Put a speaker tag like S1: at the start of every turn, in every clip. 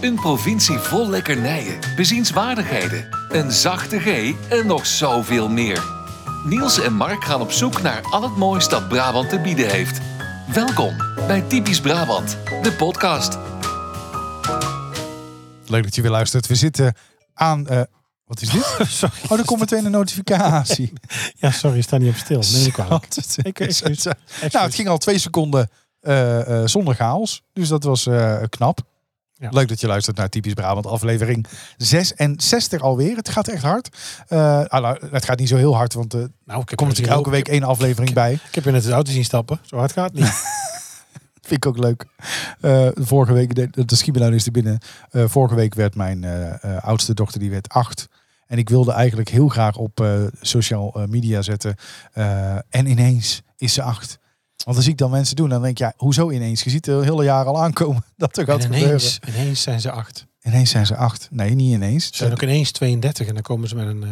S1: Een provincie vol lekkernijen, bezienswaardigheden, een zachte G en nog zoveel meer. Niels en Mark gaan op zoek naar al het moois dat Brabant te bieden heeft. Welkom bij Typisch Brabant, de podcast.
S2: Leuk dat je weer luistert. We zitten aan. eh, wat is dit?
S3: Sorry.
S2: Oh, er komt meteen een notificatie.
S3: Ja, sorry, ik sta niet op stil. Neem ik kwalijk.
S2: Schat, het
S3: Ik-
S2: is-
S3: excuus.
S2: Nou, het ging al twee seconden eh, eh, zonder chaos. Dus dat was eh, knap.
S3: Ja.
S2: Leuk dat je luistert naar Typisch Brabant, aflevering 66 alweer. Het gaat echt hard. Eh, ah, nou, het gaat niet zo heel hard, want eh, er
S3: Nou, ik heb
S2: komt natuurlijk elke week één aflevering bij.
S3: Ik heb je net de auto zien stappen. Zo hard gaat het niet.
S2: Vind ik ook leuk. Eh, vorige week, de, de- de schiet me nou eens te binnen. Eh, vorige week werd mijn eh, eh, oudste dochter, die werd acht. En ik wilde eigenlijk heel graag op eh social eh, media zetten. eh, en ineens is ze acht. Want als ik dan mensen doen, dan denk ik, ja, hoezo ineens? Je ziet er hele jaren al aankomen dat er gaat
S3: En
S2: gebeuren.
S3: ineens, ineens zijn ze acht.
S2: Ineens zijn ze acht. Nee, niet ineens.
S3: Ze zijn ook ineens 32 en dan komen ze met een eh,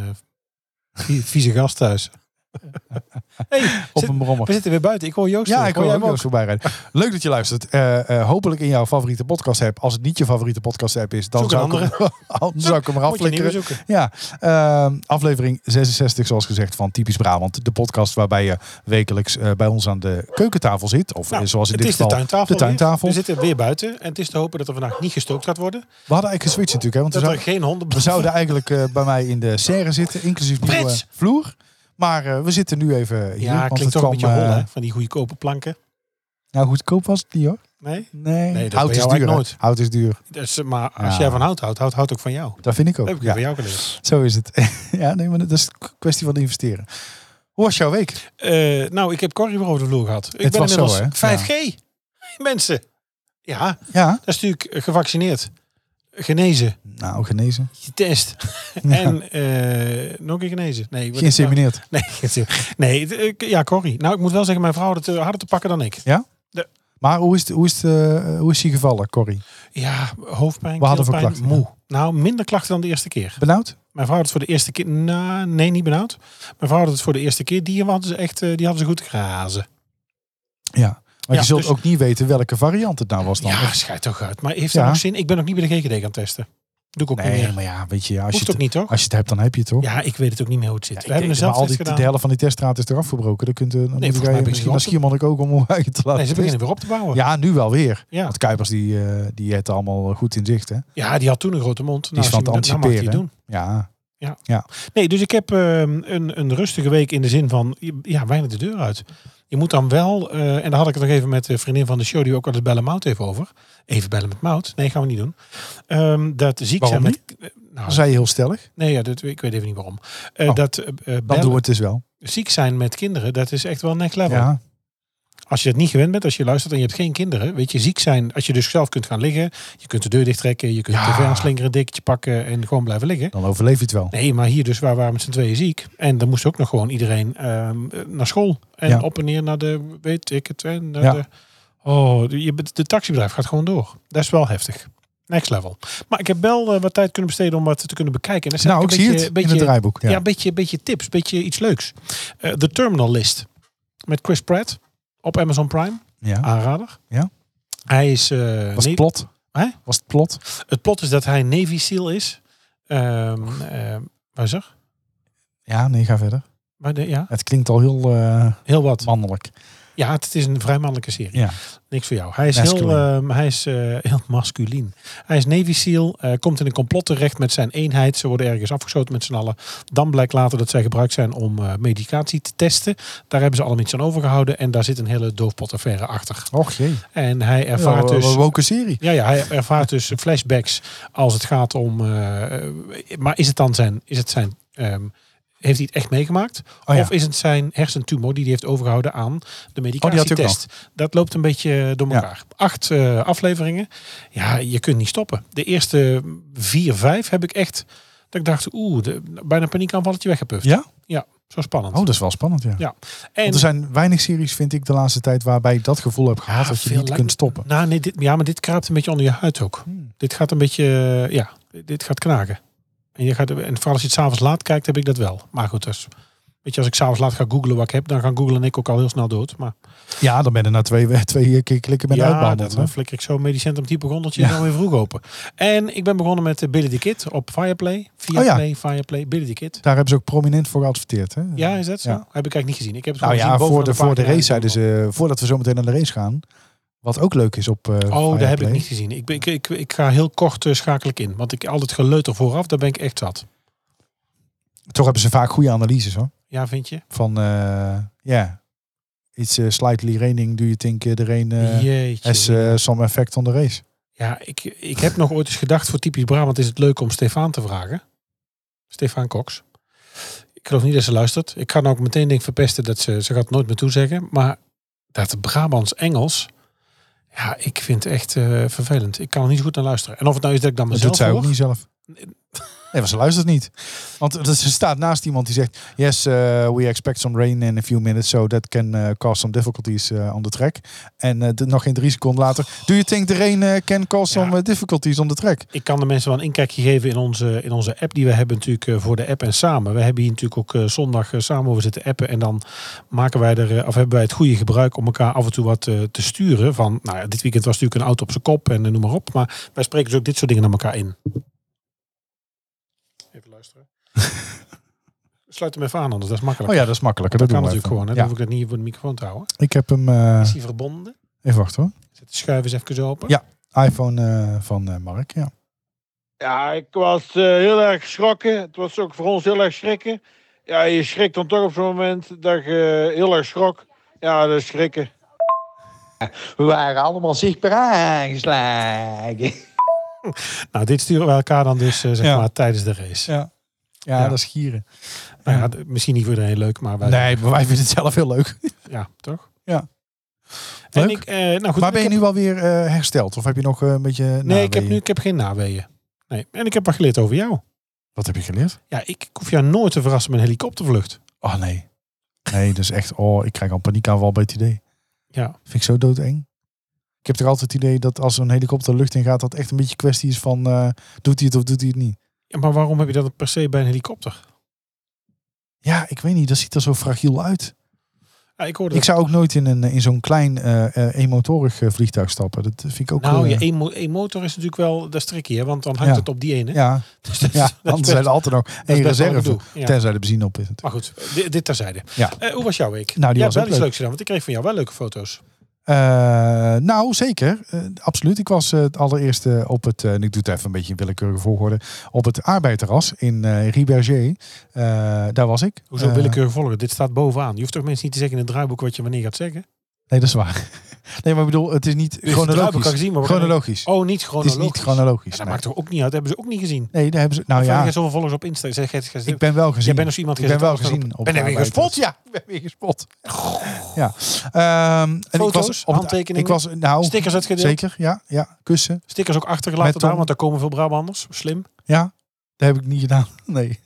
S3: vie- vieze gast thuis. Hey,
S2: op
S3: zit-
S2: een brommer.
S3: we zitten weer buiten. Ik hoor Joost.
S2: Eh, Ja,
S3: terug.
S2: ik hoor
S3: jij
S2: ook
S3: hem
S2: wel eens voorbij rijden. Leuk dat je luistert. Eh, eh, hopelijk in jouw favoriete podcast app. Als het niet je favoriete podcast app is, dan
S3: Zoek een
S2: zou ik, hem, dan zou ik hem eraf
S3: Moet je een nieuwe
S2: flikkeren.
S3: zoeken.
S2: Ja, ehm, aflevering 66, zoals gezegd, van Typisch Brabant. De podcast waarbij je wekelijks eh, bij ons aan de keukentafel zit. Of
S3: Nou,
S2: eh, zoals in
S3: het
S2: dit
S3: is de
S2: geval
S3: tuintafel.
S2: de tuintafel.
S3: weer. We zitten weer buiten. En het is te hopen dat er vandaag niet gestookt gaat worden.
S2: We hadden eigenlijk geswitcht natuurlijk, hè, want we,
S3: Dat er
S2: zouden,
S3: geen honden...
S2: we zouden eigenlijk eh, bij mij in de serre zitten, inclusief nieuwe
S3: Frits!
S2: vloer. Maar eh, we zitten nu even hier.
S3: Ja,
S2: want
S3: klinkt
S2: het
S3: toch een beetje
S2: kwam,
S3: hol,
S2: eh,
S3: hè? Van die goedkope planken.
S2: Nou, goedkoop was het niet hoor.
S3: Nee?
S2: Nee,
S3: Nee, dat
S2: hout
S3: bij
S2: is
S3: jou
S2: duur.
S3: eigenlijk
S2: hè.
S3: nooit.
S2: Hout is duur.
S3: Dus, eh, maar als
S2: Ja.
S3: jij van hout houdt, houdt hout ook van jou.
S2: Dat vind ik ook.
S3: Dat heb ik
S2: ja.
S3: van jou geleerd.
S2: Zo is het. ja, nee, maar dat is een kwestie van investeren. Hoe was jouw week?
S3: Eh, nou, ik heb Corrie weer over de vloer gehad. Ik
S2: Het
S3: ben
S2: was zo,
S3: inmiddels
S2: hè?
S3: 5G. Mensen. Ja,
S2: Ja.
S3: dat is natuurlijk gevaccineerd. Genezen.
S2: Nou, genezen.
S3: Getest. En eh, nog een keer genezen. Nee, wat-
S2: Geïnsemineerd.
S3: Nee, geïnsemineerd. nee het, eh, ja, Corrie. Nou, ik moet wel zeggen, mijn vrouw had het eh, harder te pakken dan ik.
S2: Maar hoe is, het, hoe, is het, eh, hoe is die gevallen, Corrie?
S3: Ja, hoofdpijn,
S2: We hadden veel
S3: keelpijn,
S2: klachten,
S3: moe. Nou, minder klachten dan de eerste keer.
S2: Benauwd?
S3: Mijn vrouw had het voor de eerste keer... Nou, nee, niet benauwd. Mijn vrouw had het voor de eerste keer. Die hadden ze echt eh, die hadden ze goed grazen.
S2: Ja. Maar
S3: Ja,
S2: je zult
S3: dus-
S2: ook niet weten welke variant het nou was dan.
S3: Ja, schijt toch uit. Maar heeft dat
S2: Ja.
S3: nog zin? Ik ben nog niet bij de GGD gaan testen. Doe ik ook niet
S2: nee,
S3: meer.
S2: maar ja, weet je, als je,
S3: Hoeft
S2: het,
S3: ook niet, toch?
S2: als je het hebt, dan heb je het toch?
S3: Ja, ik weet het ook niet meer hoe het zit. We hebben er
S2: maar
S3: zelf
S2: al
S3: test
S2: die,
S3: gedaan.
S2: de helft van die teststraat is eraf verbroken. Dan kunt u, dan moet
S3: volgens
S2: je
S3: mij ben ik
S2: misschien naar
S3: ze wel
S2: Schiermonnik ook om eigen te laten
S3: Nee, ze beginnen
S2: testen.
S3: weer op te bouwen. Ja,
S2: Ja, nu wel weer.
S3: Ja.
S2: Want Kuipers die, eh, die het allemaal goed in zicht. Hè? Die
S3: die had toen een grote mond.
S2: is van te
S3: zien we dat- nou mag die
S2: anticiperen.
S3: doen.
S2: hè? Ja.
S3: Nee, dus ik heb ehm, een, een rustige week in de zin van, ja, weinig de deur uit. Je moet dan wel, eh, en daar had ik het nog even met de vriendin van de show, die ook altijd bellen Mout even over. Even bellen met Mout. Nee, gaan we niet doen. Ehm, dat ziek
S2: Waarom
S3: zijn met... Nou,
S2: Dan zei je heel stellig.
S3: nee, ja, dat, ik weet even niet waarom. Eh,
S2: Oh.
S3: dat eh, eh,
S2: Dan
S3: bellen-
S2: doen we het dus wel.
S3: ziek zijn met kinderen, dat is echt wel next level.
S2: Ja.
S3: Als je dat niet gewend bent, als je luistert en je hebt geen kinderen, weet je, ziek zijn, als je dus zelf kunt gaan liggen, je kunt de deur dichttrekken, je kunt
S2: Ja.
S3: de tv aanslingeren, dikketje pakken en gewoon blijven liggen.
S2: Dan overleef je het wel.
S3: Nee, maar hier dus, waar waren we met z'n tweeën ziek. En dan moest ook nog gewoon iedereen ehm, eh, naar school. En
S2: Ja.
S3: op en neer naar de, weet ik het, en naar
S2: Ja.
S3: de, oh, de, je, bent- de taxibedrijf gaat gewoon door. Dat is wel heftig. Next level. Maar ik heb wel eh, wat tijd kunnen besteden om wat te kunnen bekijken. En dat zijn
S2: Nou, ik
S3: een
S2: zie
S3: beetje-
S2: het in
S3: beetje,
S2: het draaiboek. Ja.
S3: ja, een beetje, beetje tips, een beetje iets leuks. Eh The Terminal List met Chris Pratt op Amazon Prime.
S2: Ja.
S3: Aanrader.
S2: Ja.
S3: Hij is... eh,
S2: Was het
S3: Navy-
S2: plot?
S3: Hè?
S2: Was het plot?
S3: het plot is dat hij Navy SEAL is. Ehm ehm, waar is er?
S2: Ja, nee, ga verder.
S3: Waar de, ja,
S2: Het klinkt al heel eh,
S3: heel wat.
S2: mannelijk.
S3: Ja, het is een vrij mannelijke serie.
S2: Ja.
S3: Niks voor jou. Hij is, heel,
S2: Masculine.
S3: ehm, hij is eh, heel masculien. Hij is Navy SEAL, eh, komt in een complot terecht met zijn eenheid. Ze worden ergens afgeschoten met z'n allen. Dan blijkt later dat zij gebruikt zijn om eh, medicatie te testen. Daar hebben ze allemaal iets aan overgehouden. En daar zit een hele doofpotaffaire achter.
S2: Och jee.
S3: En hij
S2: Ja,
S3: ervaart
S2: we- we
S3: dus...
S2: woken serie.
S3: Ja, ja, hij ervaart dus flashbacks als het gaat om... eh, eh, maar is het dan zijn... Is het zijn ehm, heeft hij het echt meegemaakt?
S2: Oh ja. Oh,
S3: Of is het zijn hersentumor die hij heeft overgehouden aan de
S2: ook
S3: medicatietest? dat loopt een beetje door
S2: Ja.
S3: elkaar. Acht eh, afleveringen. Ja, je kunt niet stoppen. De eerste vier, vijf heb ik echt... Dat ik dacht, oeh, de- bijna een paniekaanvalletje weggepuft.
S2: Ja?
S3: Zo spannend.
S2: Oh, dat is wel spannend, ja.
S3: Ja,
S2: Want er zijn weinig series, vind ik, de laatste tijd waarbij ik dat gevoel heb gehad
S3: Ja,
S2: dat je
S3: veel
S2: niet
S3: lang-
S2: kunt stoppen.
S3: Nou, nee, dit, ja, maar dit kruipt een beetje onder je huid ook.
S2: Hmm.
S3: Dit gaat een beetje, eh, ja, dit gaat knagen. En, je gaat, en vooral als je het s'avonds laat kijkt, heb ik dat wel. Maar goed, dat is een Weet je, als ik s'avonds laat ga googlen wat ik heb, dan gaan Google en ik ook al heel snel dood. Maar
S2: Ja, dan ben je na twee, twee keer klikken ben je
S3: ja,
S2: uitbehandeld.
S3: dan
S2: hè?
S3: eh, flikker ik zo medicentrum type gondeltje
S2: Ja.
S3: zo weer vroeg open. En ik ben begonnen met eh, Billy the Kid op Fireplay.
S2: Oh
S3: Fireplay, Fireplay, Billy the Kid.
S2: Daar hebben ze ook prominent voor geadverteerd. Hè?
S3: Ja, is dat zo?
S2: Ja.
S3: Heb ik eigenlijk niet gezien. Ik heb het
S2: Nou
S3: gewoon
S2: ja,
S3: gezien
S2: voor de,
S3: bovenaan
S2: voor de
S3: pagina.
S2: race zeiden ze, voordat we zo meteen naar de race gaan. Wat ook leuk is op eh
S3: Oh, dat heb ik
S2: Fireplay.
S3: niet gezien. Ik, ben, ik, ik, ik ga heel kort eh, schakel ik in. Want ik al het geleuter vooraf, daar ben ik echt zat.
S2: Toch hebben ze vaak goede analyses hoor.
S3: Ja, vind je?
S2: Van, eh, ja, it's eh, slightly raining. Do you think eh, the rain eh,
S3: Jeetje.
S2: has eh, some effect on the race?
S3: Ja, ik, ik heb nog ooit eens gedacht voor typisch Brabant is het leuk om Stefan te vragen. Stefan Cox. Ik geloof niet dat ze luistert. Ik ga nou ook meteen denk verpesten dat ze, ze gaat het nooit meer toezeggen. Maar dat Brabants Engels, ja, ik vind het echt eh, vervelend. Ik kan er niet zo goed naar luisteren. En of het nou is dat ik dan
S2: Dat
S3: mezelf
S2: doet zij ook
S3: hoor.
S2: niet zelf.
S3: Nee.
S2: Nee, maar ze luistert niet. Want eh, ze staat naast iemand die zegt... Yes, eh, we expect some rain in a few minutes. So that can eh, cause some difficulties eh, on the track. En eh, d- nog geen drie seconden later... Do you think the rain eh, can cause
S3: Ja.
S2: some eh, difficulties on the track?
S3: Ik kan de mensen wel een inkijkje geven in onze, in onze app die we hebben natuurlijk eh, voor de app en samen. We hebben hier natuurlijk ook eh, zondag eh, samen over zitten appen. En dan maken wij er, eh, of hebben wij het goede gebruik om elkaar af en toe wat eh, te sturen. Van, nou ja, dit weekend was natuurlijk een auto op zijn kop en eh, noem maar op. Maar wij spreken dus ook dit soort dingen naar elkaar in. Even luisteren. Sluit hem even aan anders, dat is makkelijk.
S2: Oh ja, dat is makkelijker. Dat,
S3: dat kan
S2: doen we
S3: natuurlijk gewoon, hè.
S2: even.
S3: dan hoef ik dat niet voor de microfoon te houden.
S2: Ja, ik heb hem... eh,
S3: Is hij verbonden?
S2: even wachten hoor.
S3: Zet de schuif eens even zo open.
S2: Ja. iPhone eh, van eh, Mark, ja.
S4: Ja, ik was eh, heel erg geschrokken. Het was ook voor ons heel erg schrikken. Ja, je schrikt dan toch op zo'n moment dat je eh, heel erg schrok. Ja, dat is schrikken.
S5: We waren allemaal zichtbaar aangeslagen.
S3: Nou, dit sturen we elkaar dan dus, eh, zeg
S2: Ja.
S3: maar, tijdens de race.
S2: Ja. Ja,
S3: Ja.
S2: dat is gieren.
S3: Nou
S2: Ja.
S3: ja, d- misschien niet voor iedereen leuk, maar wij,
S2: Nee, maar wij vinden het zelf heel leuk.
S3: ja, toch?
S2: Ja.
S3: En
S2: Leuk.
S3: ik, eh, nou goed,
S2: maar ben je
S3: ik
S2: nu alweer eh, hersteld? Of heb je nog eh, een beetje...
S3: heb- nee, ik heb nu ik heb geen naweeën. Nee. En ik heb wat geleerd over jou.
S2: Wat heb je geleerd?
S3: Ja, ik, ik hoef jou nooit te verrassen met een helikoptervlucht.
S2: Oh nee. Nee, dus echt... Oh, ik krijg al een paniekaanval bij het idee.
S3: Ja.
S2: Vind ik zo doodeng. Ik heb toch altijd het idee dat als een helikopter lucht in gaat... dat echt een beetje kwestie is van... eh, doet hij het of doet hij het niet?
S3: ja. Maar waarom heb je dat dan per se bij een helikopter?
S2: Ja, ik weet niet. Dat ziet er zo fragiel uit.
S3: Ja, ik hoorde
S2: Ik
S3: dat-
S2: zou ook nooit in, een, in zo'n klein eh, eh, eenmotorig eh, vliegtuig stappen. Dat vind ik ook...
S3: Nou,
S2: eh,
S3: je één, mo- één motor is natuurlijk wel, dat is tricky, hè? want dan hangt
S2: Ja.
S3: het op die ene.
S2: Ja,
S3: Dus dat is-
S2: ja
S3: dat is
S2: anders
S3: best-
S2: zijn er altijd nog
S3: dat
S2: één
S3: is best wel wat ik
S2: reserve.
S3: doe. Ja.
S2: Tenzij de benzine op is natuurlijk.
S3: Maar goed, eh, dit, dit terzijde.
S2: Ja.
S3: Eh, hoe was jouw week?
S2: Nou, die
S3: ja,
S2: was
S3: wel
S2: ook
S3: iets
S2: leuk.
S3: leuks gedaan, want ik kreeg van jou wel leuke foto's.
S2: Eh, nou, zeker. Eh, absoluut. Ik was eh, het allereerste op het, eh, en ik doe het even een beetje in willekeurige volgorde, op het arbeiderras in eh Riberger. Eh, daar was ik.
S3: Hoezo
S2: Eh,
S3: willekeurig volgen? Dit staat bovenaan. Je hoeft toch mensen niet te zeggen in het draaiboek wat je wanneer gaat zeggen?
S2: Nee, dat is waar. nee, maar ik bedoel, het is niet
S3: het draaiboek
S2: chronologisch.
S3: al gezien, maar we gaan-
S2: chronologisch.
S3: Oh, niet
S2: Het
S3: chronologisch.
S2: is niet chronologisch.
S3: Ja, dat
S2: nee.
S3: maakt toch ook niet uit? Dat hebben ze ook niet gezien.
S2: nee, daar hebben ze. Nou
S3: Nou
S2: ja,
S3: ja. zoveel volgers op Insta. Zeg, zeg, zeg,
S2: ik ben wel gezien.
S3: Jij bent als iemand
S2: ik ben wel
S3: gezet op-
S2: gezien. Op
S3: Ben
S2: het
S3: er weer
S2: arbeiderras.
S3: gespot? Ja.
S2: Ik ben weer gespot. Ja. Ehm, en ik
S3: Foto's,
S2: was op het-
S3: handtekeningen?
S2: Ik was, nou,
S3: Stickers uitgedeeld.
S2: zeker. Ja, ja, kussen.
S3: Stickers ook
S2: Met
S3: achtergelaten
S2: Tom. Ehm,
S3: daar, want daar komen veel Brabanders. Slim.
S2: Ja, dat heb ik niet gedaan. Nee.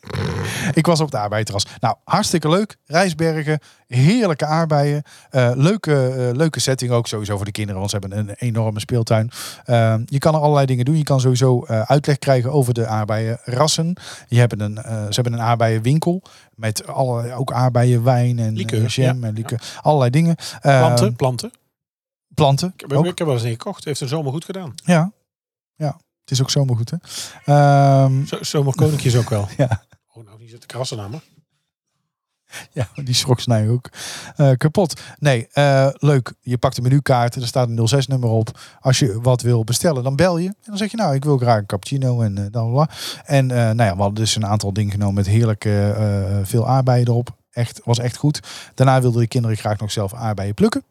S2: Ik was op de arbeidsras. Nou, hartstikke leuk. Rijsbergen, heerlijke aardbeien. Eh, leuke, eh, leuke setting ook sowieso voor de kinderen, want ze hebben een enorme speeltuin. Eh, je kan er allerlei dingen doen. Je kan sowieso eh, uitleg krijgen over de aardbeienrassen. Je hebt een, eh, ze hebben een aardbeienwinkel met alle, ook aardbeienwijn en
S3: Likeur,
S2: eh, jam
S3: ja.
S2: en likeur. Allerlei dingen. Eh,
S3: Planten. planten.
S2: Planten.
S3: Ik heb,
S2: Ook.
S3: ik heb wel eens een gekocht. Heeft een zomer goed gedaan.
S2: Ja. ja, het is ook zomergoed hè. Ehm,
S3: Zo, zomerkoninkjes ook wel.
S2: Ja.
S3: Oh, nou, die zitten krassen aan me.
S2: Ja, die schrok snij ook eh, kapot. Nee, eh, leuk. Je pakt de menukaart. Er staat een 06-nummer op. Als je wat wil bestellen, dan bel je. En dan zeg je, nou, ik wil graag een cappuccino en eh dan bla. En eh, nou ja, we hadden dus een aantal dingen genomen met heerlijke eh, veel aardbeien erop. Echt, was echt goed. Daarna wilden de kinderen graag nog zelf aardbeien plukken.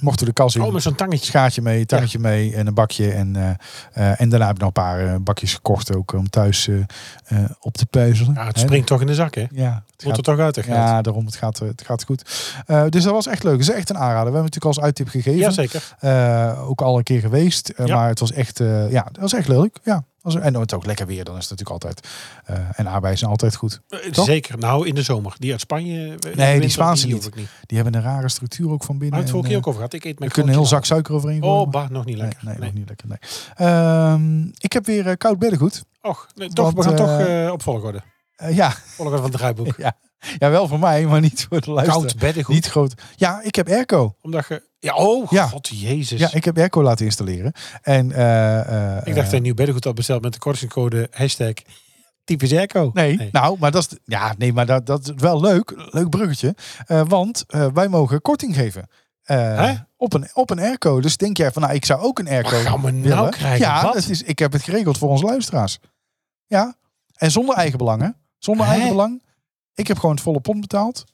S2: Mochten we de kas in.
S3: Oh, met zo'n tangetje.
S2: Schaartje mee, tangetje mee en een bakje. En, eh, eh, en daarna heb ik nog een paar eh, bakjes gekocht ook om thuis eh, eh, op te peuzelen.
S3: Ja, het
S2: Hè?
S3: springt toch in de zak, hè?
S2: Ja, het gaat-
S3: Moet er toch uit, hè? Gert?
S2: ja, daarom, het gaat, eh, het gaat goed. Eh, dus dat was echt leuk. Het is echt een aanrader. We hebben het natuurlijk al als uittip gegeven.
S3: Jazeker.
S2: Eh, ook al een keer geweest. eh,
S3: Ja.
S2: Maar het was echt, eh, ja, het was echt leuk. Ja. Was- En het ook lekker weer. Dan is het natuurlijk altijd. eh, en arbeid zijn altijd goed.
S3: Eh,
S2: Toch?
S3: Zeker. Nou, in de zomer. Die uit Spanje. eh, in de
S2: die
S3: winter,
S2: Spaanse
S3: die
S2: niet.
S3: hoef ik niet.
S2: Die hebben een rare structuur ook van binnen.
S3: Maar het vorige
S2: en,
S3: keer
S2: eh,
S3: ook over gehad. Ik eet mijn
S2: we kunnen een heel zak
S3: kroontje
S2: suiker overheen
S3: later.
S2: gooien.
S3: Oh, bah, nog niet
S2: nee,
S3: lekker.
S2: nee,
S3: Nee.
S2: nog niet lekker. Nee. Ehm, ik heb weer eh, koud beddengoed.
S3: Och, nee, toch,
S2: Want,
S3: we gaan
S2: eh,
S3: toch eh, op volgorde.
S2: Eh, ja,
S3: Volgens van het draaiboek.
S2: ja. ja, wel voor mij, maar niet voor de luisteraar.
S3: Koud beddengoed.
S2: Niet groot. Ja, ik heb airco.
S3: Omdat je... Ja, oh
S2: Ja.
S3: god, jezus.
S2: Ja, ik heb airco laten installeren. En, eh, eh,
S3: ik dacht dat je nieuw beddengoed had besteld met de kortingscode hashtag typisch airco.
S2: Nee, nou, maar dat is, ja, nee, maar dat, dat is wel leuk. Leuk bruggetje. Eh, want eh, wij mogen korting geven. Eh,
S3: Hè?
S2: op, een, op een airco. Dus denk jij van, nou, ik zou ook een airco
S3: Wat gaan we nou
S2: willen.
S3: krijgen?
S2: Ja,
S3: Wat?
S2: dat is, ik heb het geregeld voor onze luisteraars. Ja, en zonder eigen belang, hè. Zonder
S3: Hè?
S2: eigen belang. Ik heb gewoon het volle pond betaald.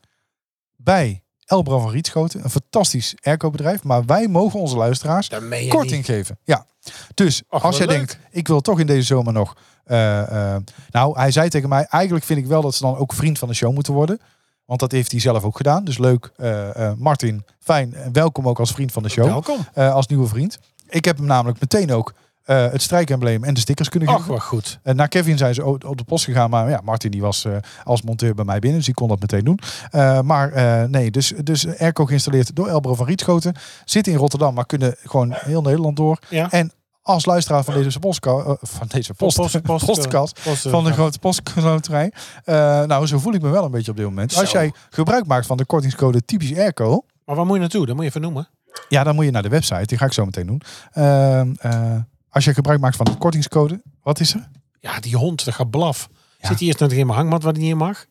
S2: Bij Elbra van Rietschoten. Een fantastisch airco-bedrijf. Maar wij mogen onze luisteraars
S3: Dat meen je
S2: korting
S3: niet.
S2: geven. Ja. Dus als jij
S3: wat leuk.
S2: denkt, ik wil toch in deze zomer nog. eh, eh, nou, hij zei tegen mij, eigenlijk vind ik wel dat ze dan ook vriend van de show moeten worden. Want dat heeft hij zelf ook gedaan. Dus leuk, eh, eh, Martin. Fijn. En Welkom ook als vriend van de show.
S3: Welkom.
S2: eh, als nieuwe vriend. Ik heb hem namelijk meteen ook eh, het strijkembleem en de stickers kunnen
S3: Ach,
S2: geven.
S3: wat goed.
S2: En Eh, naar Kevin zijn ze o- op de post gegaan. Maar ja, Martin die was eh, als monteur bij mij binnen. Dus die kon dat meteen doen. Eh, maar eh, nee, dus, dus airco geïnstalleerd door Elbro van Rietschoten. Zit in Rotterdam, maar kunnen gewoon heel Nederland door.
S3: Ja.
S2: En als luisteraar van deze, postka- eh, van deze post,
S3: Post- post-
S2: postkast,
S3: post-
S2: van de
S3: ja.
S2: grote postkantoorij. Eh nou, zo voel ik me wel een beetje op dit moment. Als
S3: Zo.
S2: jij gebruik maakt van de kortingscode typisch airco...
S3: Maar waar moet je naartoe? Dat moet je even noemen.
S2: Ja, dan moet je naar de website. Die ga ik zo meteen doen. Ehm, eh, als je gebruik maakt van de kortingscode, wat is er?
S3: Ja, die hond, dat gaat blaf. Zit hij eerst naar de hangmat waar hij niet in mag?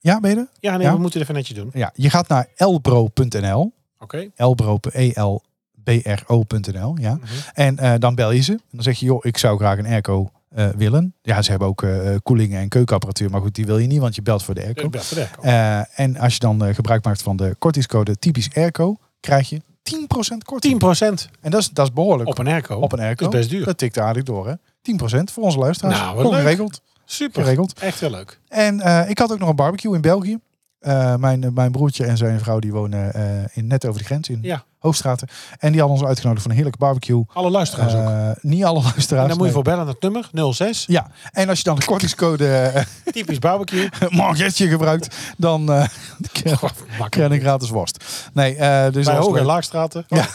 S2: Ja, ben je er?
S3: Ja, nee,
S2: Ja?
S3: we moeten het even netjes doen.
S2: Ja, je gaat naar elbro.nl.
S3: Oké.
S2: Elbro, E E-L-B-R-O.nl. Ja.
S3: Mhm.
S2: En eh, dan bel je ze. En dan zeg je, joh, ik zou graag een airco eh, willen. Ja, ze hebben ook eh koelingen en keukenapparatuur. Maar goed, die wil je niet, want je belt voor de airco.
S3: Ik ben voor de airco.
S2: Eh, en als je dan eh, gebruik maakt van de kortingscode typisch airco, krijg je 10% korting.
S3: 10%
S2: En dat is, dat is behoorlijk.
S3: op een airco.
S2: op een airco.
S3: Dat is best duur.
S2: Dat tikt aardig door, hè? 10% voor onze luisteraars.
S3: Nou, wat
S2: Gewoon
S3: leuk.
S2: geregeld.
S3: Super.
S2: geregeld.
S3: Echt heel leuk.
S2: En eh, ik had ook nog een barbecue in België. Eh, mijn, mijn broertje en zijn vrouw die wonen eh, in, net over de grens in
S3: Ja.
S2: Hoofdstraten. En die hadden ons uitgenodigd voor een heerlijke barbecue.
S3: Alle luisteraars ook.
S2: Eh, niet alle luisteraars.
S3: En dan moet je
S2: nee.
S3: voor bellen naar het nummer 06.
S2: Ja, en als je dan de kortingscode eh,
S3: Typisch barbecue.
S2: Margetje gebruikt, dan eh krijg je een
S3: Makkelijk.
S2: gratis worst. Nee, eh, dus
S3: Bij
S2: dat was
S3: hoog- en
S2: leuk.
S3: laagstraten. Oh,
S2: Ja.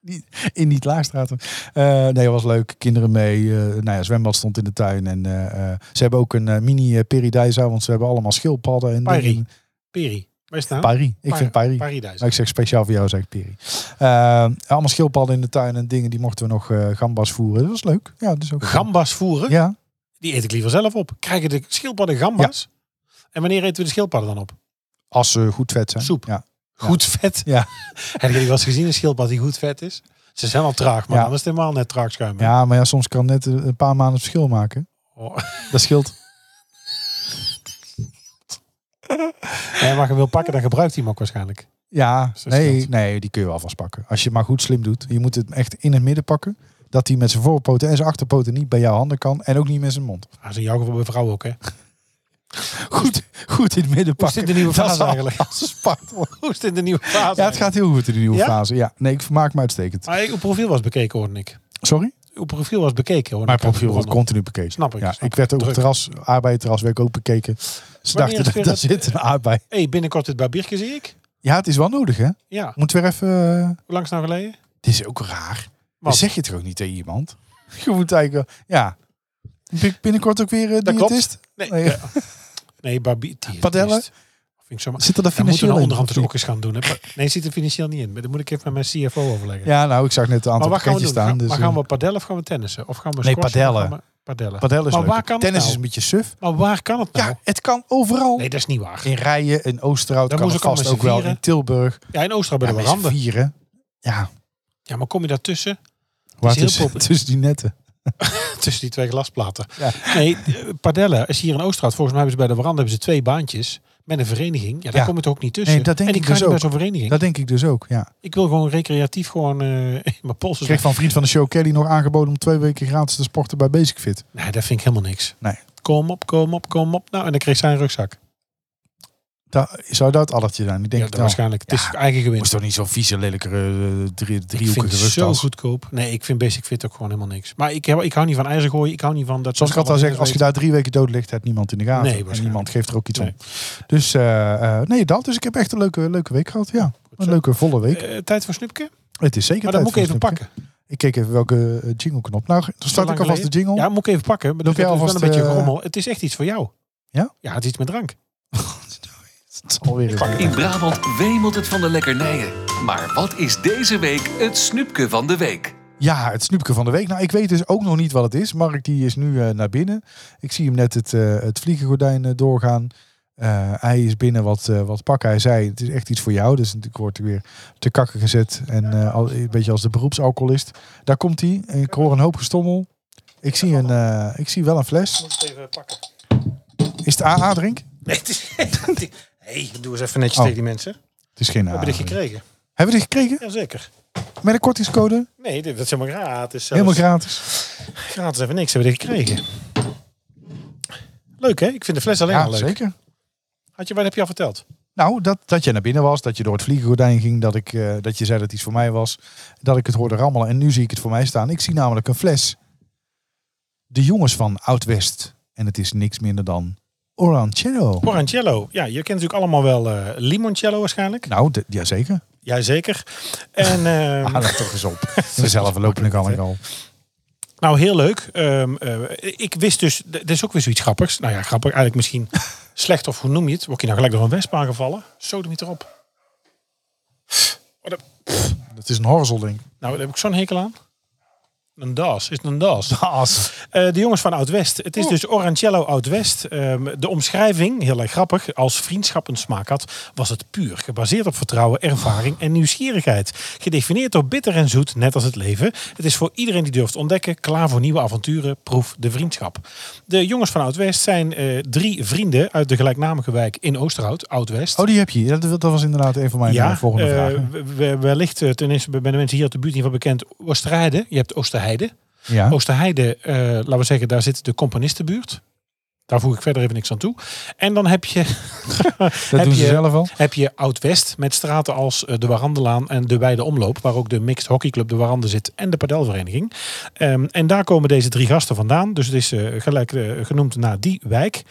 S2: Niet- in niet-laagstraten. Eh nee, dat was leuk. Kinderen mee. eh, nou ja, zwembad stond in de tuin. En eh, eh, ze hebben ook een eh, mini eh, paradijsa, want ze hebben allemaal schildpadden. En
S3: Pari.
S2: dingen.
S3: Peri. Wij staan.
S2: Paris. Ik vind Paris.
S3: nou? Paradijs.
S2: Maar ik zeg speciaal voor jou, zeg ik Piri. Eh, allemaal schildpadden in de tuin en dingen, die mochten we nog eh, gambas voeren. Dat was leuk. Ja, dus ook
S3: Gambas voeren.
S2: Ja,
S3: Die eet ik liever zelf op. Krijgen de schildpadden gambas? En wanneer eten we de schildpadden dan op?
S2: als ze goed vet zijn.
S3: Soep.
S2: Ja.
S3: Goed vet.
S2: Ja.
S3: Heb je wel eens gezien een schildpad die goed vet is? Ze zijn wel traag, maar
S2: Ja.
S3: anders helemaal net traag schuimen.
S2: ja, maar ja, soms kan net een paar maanden het verschil maken.
S3: Oh.
S2: Dat scheelt.
S3: En maar je wil pakken, dan gebruikt hij hem ook waarschijnlijk.
S2: Ja,
S3: dat
S2: nee,
S3: scheelt.
S2: nee, die kun je wel vastpakken. Als je het maar goed slim doet. Je moet het echt in het midden pakken. Dat hij met zijn voorpoten en zijn achterpoten niet bij jouw handen kan. En ook niet met zijn mond.
S3: Dat is in jouw geval bij vrouwen ook, hè?
S2: Goed, goed in het midden
S3: Hoe
S2: pakken.
S3: zit de nieuwe
S2: Dat is
S3: fase
S2: al-
S3: eigenlijk?
S2: als een spart wordt.
S3: Hoe zit de nieuwe fase?
S2: Ja, het gaat heel goed in de nieuwe
S3: Ja?
S2: fase. Ja, nee, ik vermaak me uitstekend.
S3: Maar uw profiel was bekeken, hoorde ik.
S2: Sorry?
S3: Uw profiel was bekeken, hoorde
S2: Mijn
S3: ik.
S2: profiel wordt
S3: Begonnen.
S2: continu bekeken.
S3: Snap ik,
S2: Ja,
S3: snap
S2: ik werd ook op
S3: Druk.
S2: het terras, arbeiderterras, werd ik ook bekeken. Ze
S3: Wanneer is
S2: dachten,
S3: weer
S2: daar, daar
S3: het-
S2: zit een arbeid.
S3: hey, binnenkort het barbiertje, zie ik.
S2: Ja, het is wel nodig, hè?
S3: Ja,
S2: Moet weer even... eh,
S3: hoe lang is het nou geleden?
S2: Dit is ook raar. Dan
S3: Wat?
S2: zeg je het ook niet tegen iemand. Je moet eigenlijk... wel- Ja. Bin- Binnenkort ook weer eh,
S3: Dat
S2: diëtist?
S3: Nee,
S2: Nee.
S3: ja. nee barbier. diëtist.
S2: Padellen?
S3: Vind ik zomaar.
S2: Zit er dat
S3: Dan moeten we
S2: financieel
S3: nou
S2: in?
S3: onderhand
S2: of
S3: het ook
S2: niet?
S3: eens gaan doen. Hè? Maar- Nee, zit er financieel niet in. Maar Dan moet ik even met mijn CFO overleggen.
S2: Ja, nou, ik zag net een
S3: maar
S2: aantal
S3: wat gaan we doen?
S2: pakketjes staan.
S3: Gaan,
S2: Dus,
S3: maar gaan we padellen of gaan we tennissen? Of gaan we
S2: Nee,
S3: squashen of
S2: padellen.
S3: gaan we padellen.
S2: eh, padel is
S3: maar
S2: leuk.
S3: waar kan
S2: Tennis
S3: het
S2: is
S3: nou?
S2: een beetje suf.
S3: Maar waar kan het nou?
S2: Ja, het kan overal.
S3: Nee, dat is niet waar.
S2: In Rijen, in Oosterhout
S3: Dan
S2: kan het
S3: moeten we ook
S2: vast ook
S3: allemaal
S2: wel.
S3: z'n
S2: In Tilburg.
S3: Ja, in Oostenrijk bij
S2: Ja,
S3: de
S2: met z'n
S3: Waranden.
S2: vieren. Ja,
S3: Ja, maar kom je daartussen?
S2: waar
S3: heel
S2: tussen,
S3: populair.
S2: tussen die netten.
S3: Tussen die twee glasplaten.
S2: Ja.
S3: Nee, eh, padellen is hier in Oostraat. Volgens mij hebben ze bij de Waranden hebben ze twee baantjes. Met een vereniging. Ja, daar
S2: Ja.
S3: kom je toch ook niet tussen.
S2: Nee, dat denk
S3: en ik
S2: ik
S3: ga
S2: dus
S3: niet bij
S2: ook.
S3: zo'n vereniging.
S2: Dat denk ik dus ook, ja.
S3: Ik wil gewoon recreatief gewoon eh, mijn polsen.
S2: Ik kreeg van vriend van de show Kelly nog aangeboden om twee weken gratis te sporten bij Basic Fit.
S3: Nee, dat vind ik helemaal niks.
S2: Nee.
S3: Kom op, kom op, kom op. Nou, en dan kreeg zij een rugzak.
S2: Da- zou dat addertje zijn? Ik denk het
S3: ja, dat
S2: wel.
S3: waarschijnlijk. Het is eigen
S2: Moest
S3: gewinst.
S2: toch niet zo'n vieze, lelijke eh, drie,
S3: Ik vind
S2: driehoekige
S3: het zo
S2: rugtas.
S3: goedkoop. Nee, ik vind Basic Fit ook gewoon helemaal niks. Maar ik, heb, ik hou niet van ijzer gooien. Ik hou niet van dat.
S2: Zoals ik
S3: dat
S2: altijd al zeg,
S3: allemaal
S2: als je daar drie weken dood ligt, heeft niemand in de gaten.
S3: Nee,
S2: en
S3: waarschijnlijk.
S2: niemand geeft er ook iets
S3: Nee.
S2: om. Dus eh, eh, nee, dat. Dus ik heb echt een leuke, leuke week gehad. Ja, een
S3: zo.
S2: leuke volle week.
S3: weet. Eh, tijd voor snupken.
S2: het is zeker
S3: Maar dat
S2: tijd
S3: moet ik even
S2: voor een
S3: pakken.
S2: snoepje. Ik keek even welke eh, jingle-knop. Nou, dan start ik
S3: lang
S2: alvast de jingle.
S3: Ja, moet ik even pakken. Maar dat
S2: Doe jij
S3: is wel een
S2: alvast,
S3: beetje
S2: eh,
S3: rommel. Het is echt iets voor jou.
S2: Ja?
S3: Ja, het is iets met drank.
S2: Het is alweer eens-
S1: In Brabant wemelt het van de lekkernijen. Maar wat is deze week het snoepje van de week?
S2: Ja, het snoepje van de week. Nou, ik weet dus ook nog niet wat het is. Mark die is nu eh, naar binnen. Ik zie hem net het, eh, het vliegengordijn eh, doorgaan. Eh, hij is binnen wat, eh, wat pakken. Hij zei, het is echt iets voor jou. Dus natuurlijk wordt hij weer te kakken gezet. En eh, al, een beetje als de beroepsalcoholist. Daar komt hij. Ik hoor een hoop gestommel. Ik zie, een, eh, ik zie wel een fles.
S3: Moet even pakken.
S2: Is het AA-drink?
S3: Nee, het is... hey, doe eens even netjes
S2: Oh. Ah,
S3: tegen die mensen. We
S2: Het is geen AA.
S3: hebben dit
S2: Hebben
S3: gekregen.
S2: we dit gekregen?
S3: Jazeker.
S2: Met een kortingscode?
S3: Nee, dit, dat is helemaal gratis. zelfs.
S2: Helemaal gratis.
S3: gratis even niks hebben we dit gekregen. Leuk hè? Ik vind de fles alleen
S2: Ja,
S3: al leuk.
S2: zeker.
S3: Had je, wat heb je al verteld?
S2: Nou, dat, dat je naar binnen was, dat je door het vliegengordijn ging, dat, ik, eh, dat je zei dat iets voor mij was, dat ik het hoorde rammelen en nu zie ik het voor mij staan. Ik zie namelijk een fles. De jongens van Oud-West. En het is niks minder dan Oranchero.
S3: Orancello. Ja, je kent natuurlijk allemaal wel eh, limoncello waarschijnlijk.
S2: Nou, de- jazeker.
S3: Jazeker. En, ehm,
S2: Ah, dat toch eens op. Mezelf lopen ik al en al.
S3: Nou, heel leuk. Ehm, eh, ik wist dus, d- dit is ook weer zoiets grappigs. Nou ja, grappig. Eigenlijk misschien slecht of hoe noem je het? Word je nou gelijk door een wesp aangevallen? Sodemiet erop.
S2: Dat is een horzelding.
S3: Nou, daar heb ik zo'n hekel aan. Een das. Is het een das?
S2: As.
S3: Eh, de jongens van Oud-West. Het is dus Orancello Oud-West. Ehm, de omschrijving, heel erg grappig, als vriendschap een smaak had, was het puur. Gebaseerd op vertrouwen, ervaring en nieuwsgierigheid. Gedefinieerd door bitter en zoet, net als het leven. Het is voor iedereen die durft ontdekken, klaar voor nieuwe avonturen, proef de vriendschap. De jongens van Oud-West zijn eh, drie vrienden uit de gelijknamige wijk in Oosterhout, Oud-West.
S2: Oh, die heb je. Dat, dat was inderdaad een van mijn eh, volgende
S3: eh,
S2: vragen.
S3: we- we- wellicht, eh, ten eerste bij de mensen hier uit de buurt niet van bekend, Oosterheide. Je hebt Oosterheide.
S2: Ja.
S3: Oosterheide, eh, laten we zeggen, daar zit de componistenbuurt. Daar voeg ik verder even niks aan toe. En dan heb je,
S2: dat doen ze
S3: je-
S2: zelf al.
S3: heb je Oud-West met straten als eh, de Warandelaan en de Weide Omloop. Waar ook de Mixed Hockeyclub de Warande zit en de padelvereniging. Ehm, en daar komen deze drie gasten vandaan. Dus het is eh, gelijk eh, genoemd naar die wijk.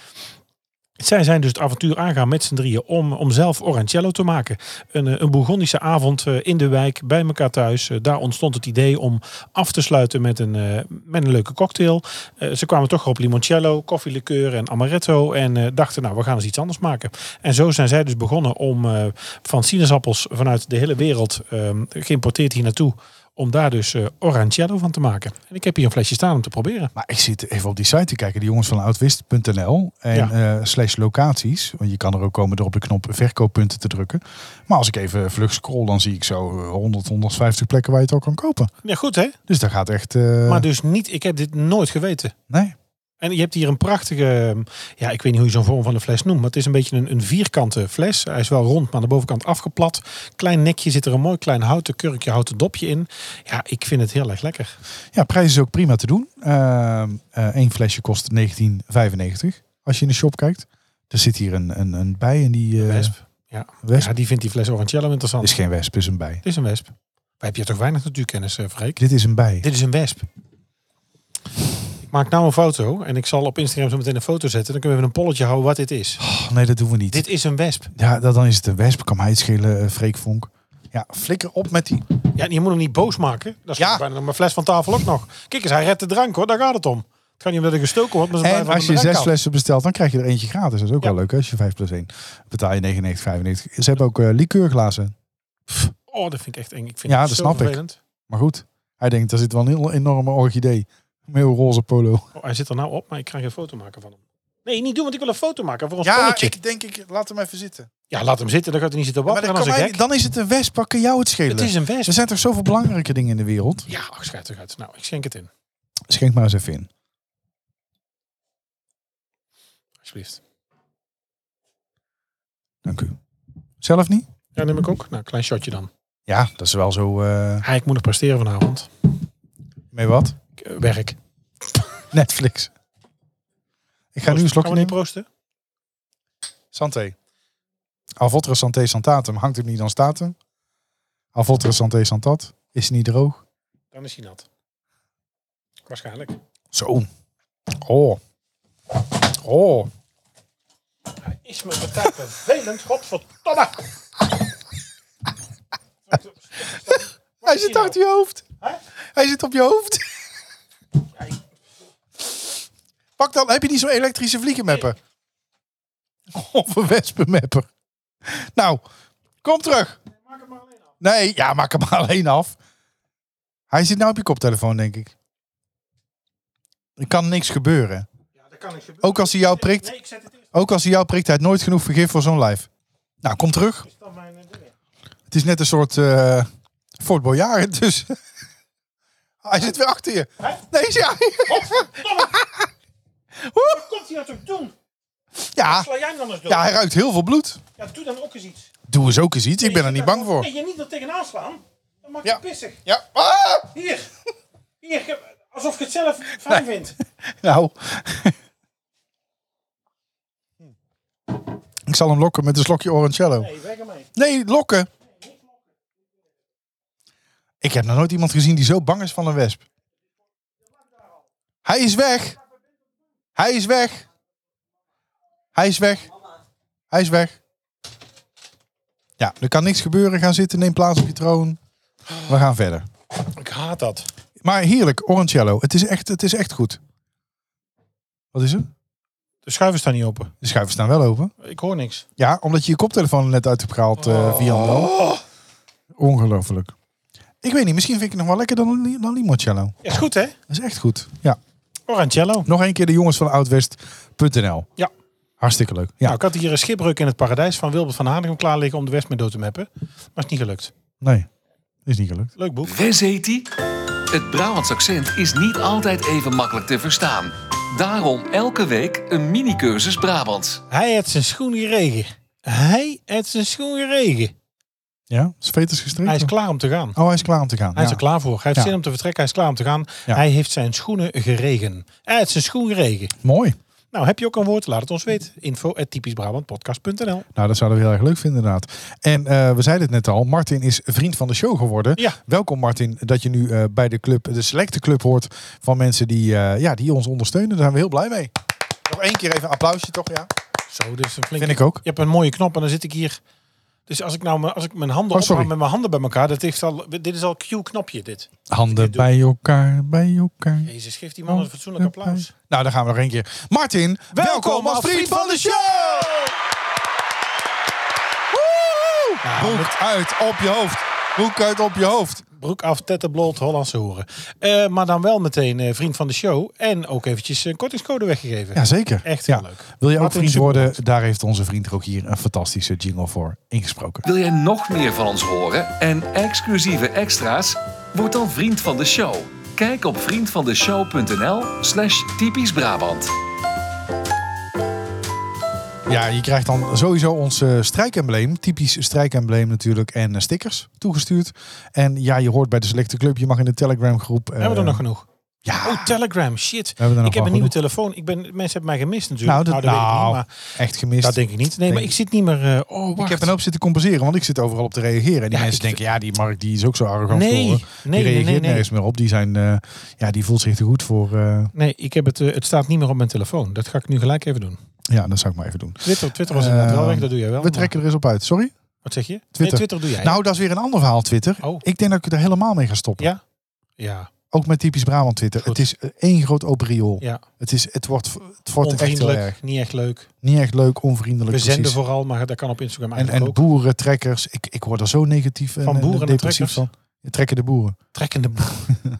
S3: Zij zijn dus het avontuur aangaan met z'n drieën om, om zelf Orancello te maken. Een, eh, een Bourgondische avond eh, in de wijk, bij elkaar thuis. Eh, Daar ontstond het idee om af te sluiten met een, eh, met een leuke cocktail. Eh, Ze kwamen toch op limoncello, koffielikeur en amaretto. En eh, dachten, nou, we gaan eens iets anders maken. En zo zijn zij dus begonnen om eh, van sinaasappels vanuit de hele wereld, eh, geïmporteerd hier naartoe, om daar dus eh, Orancello van te maken. En ik heb hier een flesje staan om te proberen.
S2: Maar ik zit even op die site te kijken, die jongens van oudwist.nl en eh, slash locaties. Want je kan er ook komen door op de knop verkooppunten te drukken. Maar als ik even vlug scroll, dan zie ik zo eh, 100, 150 plekken waar je het al kan kopen.
S3: Ja, goed hè?
S2: Dus daar gaat echt. eh,
S3: Maar dus niet, ik heb dit nooit geweten.
S2: nee.
S3: En je hebt hier een prachtige, ehm, ja, ik weet niet hoe je zo'n vorm van de fles noemt, maar het is een beetje een, een vierkante fles. Hij is wel rond, maar aan de bovenkant afgeplat. Klein nekje zit er een mooi klein houten kurkje, houten dopje in. Ja, ik vind het heel erg lekker.
S2: Ja, prijs is ook prima te doen. Eén flesje kost 19,95 als je in de shop kijkt. Er zit hier een, een, een bij en die. eh,
S3: Wesp. Ja.
S2: wesp.
S3: ja, die vindt die fles Orancello interessant.
S2: Is geen wesp, is een bij.
S3: Het is een wesp. Wij heb je toch weinig natuurkennis, eh, Freek?
S2: Dit is een bij.
S3: Dit is een wesp. Ik maak nou een foto en ik zal op Instagram zo meteen een foto zetten. Dan kunnen we even een polletje houden wat dit is.
S2: Oh, nee, dat doen we niet.
S3: Dit is een wesp.
S2: Ja, dat, dan is het een wesp. Kan mij het schelen, eh, Freek Vonk. Ja, flikker op met die.
S3: Ja, en je moet hem niet boos maken. Dat is
S2: Ja.
S3: bijna mijn fles van tafel ook nog. Kijk eens, hij redt de drank hoor, daar gaat het om. Het gaat niet om dat hij gestoken wordt, maar ze
S2: En
S3: blijven
S2: als
S3: aan de
S2: je zes
S3: drank af.
S2: flessen bestelt, dan krijg je er eentje gratis. Dat is ook
S3: Ja.
S2: wel leuk. hè? Als je 5 plus 1 betaal je 99,95. Ze hebben ook eh, likeurglazen.
S3: Oh, dat vind ik echt eng. Ik vind
S2: Ja,
S3: het
S2: dat
S3: zo
S2: snap ik.
S3: vervelend.
S2: Maar goed, hij denkt, daar zit wel een heel enorme orchidee. Met een roze polo.
S3: Oh, hij zit er nou op, maar ik ga geen foto maken van hem. Nee, niet doen, want ik wil een foto maken voor ons polletje.
S2: denk, ik, laat hem even zitten.
S3: Ja, laat hem zitten, dan gaat hij niet zitten wapperen als een gek.
S2: dan is het een wesp. Pak jou het schelen.
S3: Het is een
S2: Er
S3: wesp.
S2: zijn toch zoveel belangrijke dingen in de wereld?
S3: Ja, ach, schijt toch uit. Nou, ik schenk het in,
S2: Schenk maar eens even in.
S3: alsjeblieft.
S2: Dank u. Zelf niet?
S3: Ja, neem ik ook. Nou, klein shotje dan.
S2: Ja, dat is wel zo... eh,
S3: Ja, ik moet nog presteren vanavond.
S2: mee wat?
S3: Ik, eh, werk.
S2: Netflix. Ik ga nu een slokje
S3: Proost. Gaan we niet
S2: nemen.
S3: proosten?
S2: Santé. Alvotra santé santatum. Hangt het niet aan statum? Alvotra santé santat. Is niet droog?
S3: Dan is hij nat. Waarschijnlijk.
S2: Zo. Oh. Oh.
S3: Hij is me partij vervelend, godverdomme.
S2: Hij zit achter je hoofd. Hij zit op je hoofd. Pak dan, heb je niet zo'n elektrische vliegenmapper? Of een wespenmapper. Nou, kom terug. Nee, ja, maak hem maar alleen af. Hij zit nou op je koptelefoon, denk ik. Er kan niks gebeuren.
S3: dat kan niet gebeuren.
S2: Ook als hij jou prikt,
S3: ik zet het eerst
S2: ook als hij jou prikt, hij heeft nooit genoeg vergif voor zo'n lijf. Nou, kom terug.
S3: dan mijn eh, dingen.
S2: Het is net een soort eh Fort Boyard, dus... hij zit weer achter je. Nee, is hij. Oeh,
S3: Komt hij dat ook doen?
S2: Ja,
S3: jij hem dan eens doen.
S2: ja, hij ruikt heel veel bloed.
S3: doe dan ook eens iets.
S2: Doe eens ook eens iets, ik ben er niet bang voor.
S3: je niet er tegenaan slaan. Dan maak
S2: je Ja.
S3: pissig.
S2: Ja, ah!
S3: Hier. Hier. Alsof je het zelf fijn vindt.
S2: nou... Ik zal hem lokken met een slokje Orancello.
S3: Hm. Nee, weg ermee.
S2: Nee, lokken. Ik heb nog nooit iemand gezien die zo bang is van een wesp. Hij is weg. Hij is weg. Hij is weg. Hij is weg. Ja, er kan niks gebeuren. Ga zitten, neem plaats op je troon. We gaan verder.
S3: Ik haat dat.
S2: Maar heerlijk, Orancello. Het is echt, het is echt goed. Wat is er?
S3: De schuiven staan niet open.
S2: De schuiven staan wel open.
S3: Ik hoor niks.
S2: Ja, omdat je je koptelefoon er net uit hebt gehaald,
S3: Oh.
S2: eh Vian. Ongelooflijk. Ik weet niet, misschien vind ik het nog wel lekker dan, li- dan limoncello.
S3: Ja, is goed hè?
S2: Dat is echt goed. Ja.
S3: Orancello.
S2: Nog één keer de jongens van oudwest.nl.
S3: Ja.
S2: Hartstikke leuk. Ja,
S3: Nou, ik had hier een schipbreuk in het paradijs van Wilbert van Hanegem klaar liggen om de West mee dood te mappen. Maar is niet gelukt.
S2: nee. Is niet gelukt.
S3: Leuk boek.
S1: Wes heet die? Het Brabants accent is niet altijd even makkelijk te verstaan. Daarom elke week een mini-cursus Brabants.
S3: Hij heeft zijn schoen geregen. Hij heeft zijn schoen geregen.
S2: Ja, is veters gestreken.
S3: Hij is klaar om te gaan.
S2: Oh, hij is klaar om te gaan.
S3: Hij is
S2: Ja.
S3: er klaar voor. Hij heeft
S2: Ja.
S3: zin om te vertrekken. Hij is klaar om te gaan.
S2: Ja.
S3: Hij heeft zijn schoenen geregen. Hij heeft zijn schoen geregen.
S2: Mooi.
S3: Nou, heb je ook een woord? Laat het ons weten. Info at typischbrabantpodcast.nl
S2: Nou, dat zouden we heel erg leuk vinden inderdaad. En eh, we zeiden het net al, Martin is vriend van de show geworden.
S3: Ja.
S2: Welkom Martin, dat je nu eh, bij de club, de selecte club hoort van mensen die, eh, ja, die ons ondersteunen. Daar zijn we heel blij mee. Nog één keer even een applausje toch, ja?
S3: Zo, dit is een flinke...
S2: Vind ik ook.
S3: Je hebt een mooie knop en dan zit ik hier... Dus als ik nou mijn- als ik mijn
S2: Oh,
S3: handen
S2: sorry.
S3: ophaal met mijn handen bij elkaar, dat is al, dit is al Q-knopje dit.
S2: Handen bij elkaar, bij elkaar.
S3: Jezus, geef die
S2: Oh,
S3: man een fatsoenlijk applaus.
S2: Nou, daar gaan we nog één keer. Martin, welkom als vriend van de show! Woehoe! Broek uit op je hoofd. Broek uit op je hoofd.
S3: Broek af, tetten bloot, Hollandse horen. Eh, maar dan wel meteen eh, vriend van de show en ook eventjes een kortingscode weggegeven.
S2: Jazeker.
S3: Echt
S2: ja.
S3: heel leuk.
S2: Wil je ook
S3: Martin
S2: vriend
S3: Superman.
S2: worden? Daar heeft onze vriend ook hier een fantastische jingle voor ingesproken.
S1: Wil jij nog meer van ons horen en exclusieve extra's? Word dan vriend van de show. Kijk op vriendvandeshow.nl slash typisch Brabant.
S2: Ja, je krijgt dan sowieso ons eh, strijkembleem. Typisch strijkembleem natuurlijk. En eh, stickers toegestuurd. En ja, je hoort bij de selecte club. Je mag in de Telegram groep. eh,
S3: Hebben we er nog genoeg?
S2: Ja.
S3: Oh, Telegram, shit.
S2: ah. hebben er nog
S3: ik heb
S2: wel
S3: een nieuwe
S2: genoeg.
S3: telefoon. Ik ben, mensen hebben mij gemist natuurlijk.
S2: Nou, dat,
S3: weet ik
S2: nou,
S3: niet, maar
S2: echt gemist.
S3: dat denk ik niet. Nee, maar
S2: ik-
S3: ik zit niet meer... eh, oh, wacht.
S2: Ik heb een hoop zitten compenseren, want ik zit overal op te reageren. En die
S3: Ja,
S2: mensen
S3: ik-
S2: denken, ja, die Mark die is ook zo arrogant.
S3: Nee,
S2: voor, hè.
S3: nee, nee,
S2: die reageert
S3: nee, nee.
S2: nergens meer op. Die, zijn, eh, ja, die voelt zich te goed voor. eh,
S3: Nee, ik heb het, eh, het staat niet meer op mijn telefoon. Dat ga ik nu gelijk even doen.
S2: ja, dat zou ik maar even doen.
S3: Twitter, Twitter was inderdaad wel weg, dat doe jij wel.
S2: We
S3: maar-
S2: trekken er eens op uit. Sorry?
S3: Wat zeg je? Nee,
S2: Twitter.
S3: Twitter doe jij.
S2: Nou, dat is weer een ander verhaal, Twitter.
S3: Oh.
S2: Ik denk dat ik er helemaal mee ga stoppen.
S3: Ja? Ja,
S2: Ook met typisch Brabant Twitter.
S3: Goed.
S2: Het is eh, één groot open riool.
S3: ja.
S2: Het, is, het wordt, het wordt echt heel erg.
S3: Onvriendelijk, niet echt leuk.
S2: Niet echt leuk, onvriendelijk.
S3: We zenden
S2: precies.
S3: vooral, maar dat kan op Instagram
S2: en,
S3: eigenlijk
S2: en
S3: ook.
S2: boeren, trekkers. Ik, ik word er zo negatief en,
S3: Van
S2: en
S3: boeren en
S2: depressief van.
S3: trekkers?
S2: Trekken de boeren.
S3: Trekkende boeren.
S2: Nee, maar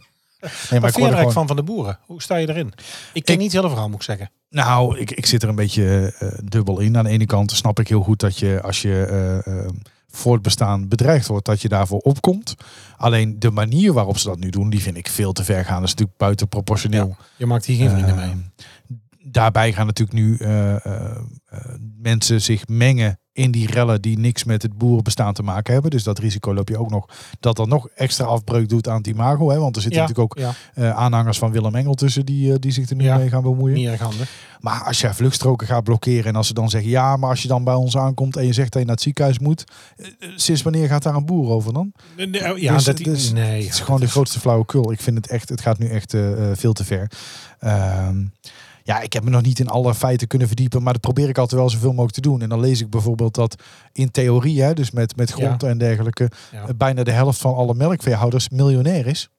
S2: ik
S3: Wat vind
S2: word
S3: je
S2: er
S3: eigenlijk
S2: gewoon
S3: van Van de Boeren? Hoe sta je erin? Ik ken
S2: Ik-
S3: niet het hele verhaal, moet ik zeggen.
S2: Nou, ik, ik zit er een beetje eh, dubbel in. Aan de ene kant snap ik heel goed dat je als je eh, eh, voortbestaan bedreigd wordt, dat je daarvoor opkomt. Alleen de manier waarop ze dat nu doen, die vind ik veel te ver gaan. Dat is natuurlijk buitenproportioneel.
S3: Je maakt
S2: Eh,
S3: hier geen vrienden mee.
S2: Daarbij gaan natuurlijk nu eh, eh, eh, mensen zich mengen in die rellen die niks met het boerenbestaan te maken hebben. Dus dat risico loop je ook nog. Dat dat nog extra afbreuk doet aan het imago. Hè? Want er zitten
S3: Ja,
S2: natuurlijk ook
S3: ja.
S2: eh, aanhangers van Willem Engel tussen die, eh, die zich er nu
S3: Ja.
S2: mee gaan bemoeien.
S3: Niet erg handig.
S2: Maar als jij vluchtstroken gaat blokkeren en als ze dan zeggen ja, maar als je dan bij ons aankomt en je zegt dat je naar het ziekenhuis moet, eh, eh, sinds wanneer gaat daar een boer over dan?
S3: oh, Ja,
S2: Dus-
S3: dat,
S2: dus
S3: nee, ja,
S2: het is gewoon de grootste flauwekul. Ik vind het echt, het gaat nu echt eh, eh, veel te ver. Ehm, Ja, ik heb me nog niet in alle feiten kunnen verdiepen, maar dat probeer ik altijd wel zoveel mogelijk te doen. En dan lees ik bijvoorbeeld dat in theorie, hè, dus met, met grond en dergelijke,
S3: Ja.
S2: eh, bijna de helft van alle melkveehouders miljonair is.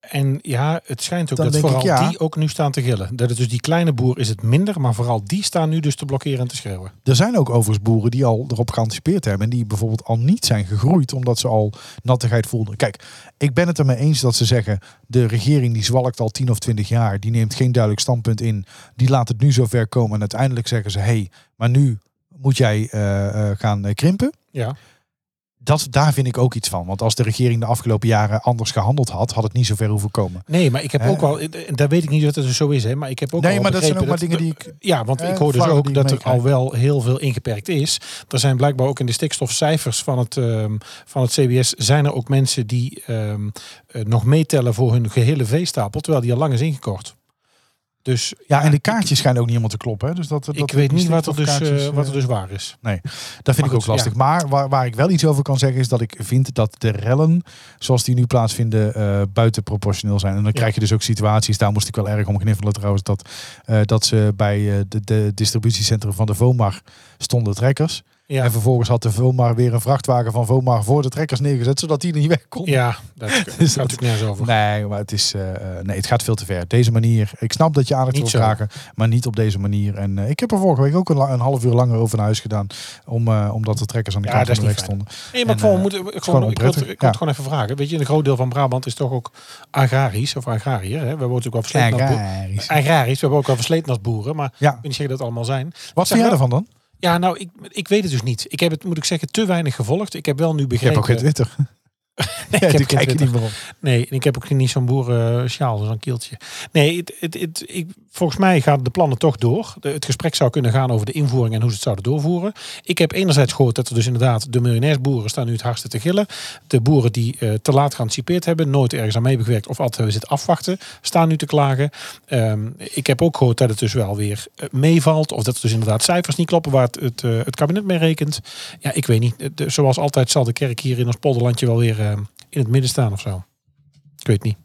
S3: En ja, het schijnt ook
S2: Dan
S3: dat
S2: denk ik,
S3: vooral
S2: ja.
S3: die ook nu staan te gillen. Dat het dus die kleine boer is het minder, maar vooral die staan nu dus te blokkeren en te schreeuwen.
S2: Er zijn ook overigens boeren die al erop geanticipeerd hebben. En die bijvoorbeeld al niet zijn gegroeid omdat ze al nattigheid voelden. Kijk, ik ben het ermee eens dat ze zeggen. De regering die zwalkt al 10 of 20 jaar. Die neemt geen duidelijk standpunt in. Die laat het nu zover komen. En uiteindelijk zeggen ze: hé, hey, maar nu moet jij eh, eh, gaan eh, krimpen.
S3: Ja,
S2: Dat, daar vind ik ook iets van. Want als de regering de afgelopen jaren anders gehandeld had, had het niet zover hoeven komen.
S3: nee, maar ik heb
S2: Hè?
S3: ook wel, en daar weet ik niet of dat het zo is, hè, maar ik heb ook
S2: nee,
S3: wel
S2: maar dat zijn ook
S3: begrepen
S2: maar dingen die ik.
S3: Ja, want
S2: Eh,
S3: ik hoor dus
S2: vlaggen
S3: ook
S2: die
S3: dat er
S2: meekrijgen.
S3: al wel heel veel ingeperkt is. Er zijn blijkbaar ook in de stikstofcijfers van het, ehm, van het CBS... zijn er ook mensen die ehm, eh, nog meetellen voor hun gehele veestapel... terwijl die al lang is ingekort. Dus
S2: Ja, en de kaartjes schijnen ook niet helemaal te kloppen. Hè? Dus dat, dat
S3: ik weet
S2: die
S3: niet wat er, dus,
S2: stikstofkaartjes,
S3: eh,
S2: eh,
S3: wat er dus waar is.
S2: Dat vind
S3: Maar
S2: ik ook
S3: goed,
S2: lastig. Maar waar, waar ik wel iets over kan zeggen is dat ik vind dat de rellen zoals die nu plaatsvinden eh buitenproportioneel zijn. En dan krijg je dus ook situaties, daar moest ik wel erg om kniffelen trouwens, dat, eh, dat ze bij eh, de, de distributiecentrum van de VOMAR stonden trekkers.
S3: Ja,
S2: En vervolgens had de VOMAR weer een vrachtwagen van VOMAR voor de trekkers neergezet, zodat die er niet weg kon.
S3: ja dat gaat
S2: Dus dat-
S3: natuurlijk nergens over.
S2: Nee, maar het, is, eh, eh, nee, het gaat veel te ver. Deze manier, ik snap dat je aandacht
S3: Niet
S2: wil
S3: zo.
S2: vragen, maar niet op deze manier. En eh, ik heb er vorige week ook een, la- een half uur langer over naar huis gedaan, om, eh, omdat de trekkers aan de
S3: Ja,
S2: kant
S3: dat
S2: van
S3: is
S2: de weg
S3: niet fijn.
S2: stonden.
S3: Nee, maar
S2: En,
S3: ik, vond-
S2: eh,
S3: moet, ik, gewoon,
S2: gewoon
S3: ik, wil het- ik wil
S2: onprettig, ja.
S3: het gewoon even vragen. Weet je, een groot deel van Brabant is toch ook agrarisch of agrariër. Hè? We hebben natuurlijk wel versleten als boeren.
S2: Agrarisch.
S3: Agrarisch, we hebben ook wel versleten als boeren. Maar
S2: Ja.
S3: ik weet niet zeker dat het allemaal zijn.
S2: Wat vind jij
S3: wel-
S2: ervan dan?
S3: Ja, nou, ik, ik weet het dus niet. Ik heb het, moet ik zeggen, te weinig gevolgd. Ik heb wel
S2: Je
S3: nu
S2: hebt
S3: begrepen...
S2: ook geen Twitter.
S3: Nee,
S2: Ja,
S3: ik eh,
S2: die
S3: heb geen
S2: kijk je
S3: Twitter.
S2: niet meer op.
S3: Nee, en ik heb ook niet zo'n boerensjaal, zo'n kieltje. Nee, het, het, het, ik, volgens mij gaan de plannen toch door. De- het gesprek zou kunnen gaan over de invoering en hoe ze het zouden doorvoeren. Ik heb enerzijds gehoord dat er dus inderdaad de miljonairsboeren staan nu het hardste te gillen. De boeren die eh, te laat geanticipeerd hebben, nooit ergens aan meebewerkt of altijd hebben zitten afwachten, staan nu te klagen. Ehm, ik heb ook gehoord dat het dus wel weer eh, meevalt. Of dat er dus inderdaad cijfers niet kloppen waar het, het, eh, het kabinet mee rekent. Ja, ik weet niet. Eh, de- zoals altijd zal de kerk hier in ons polderlandje wel weer eh, in het midden staan of zo. Ik weet niet.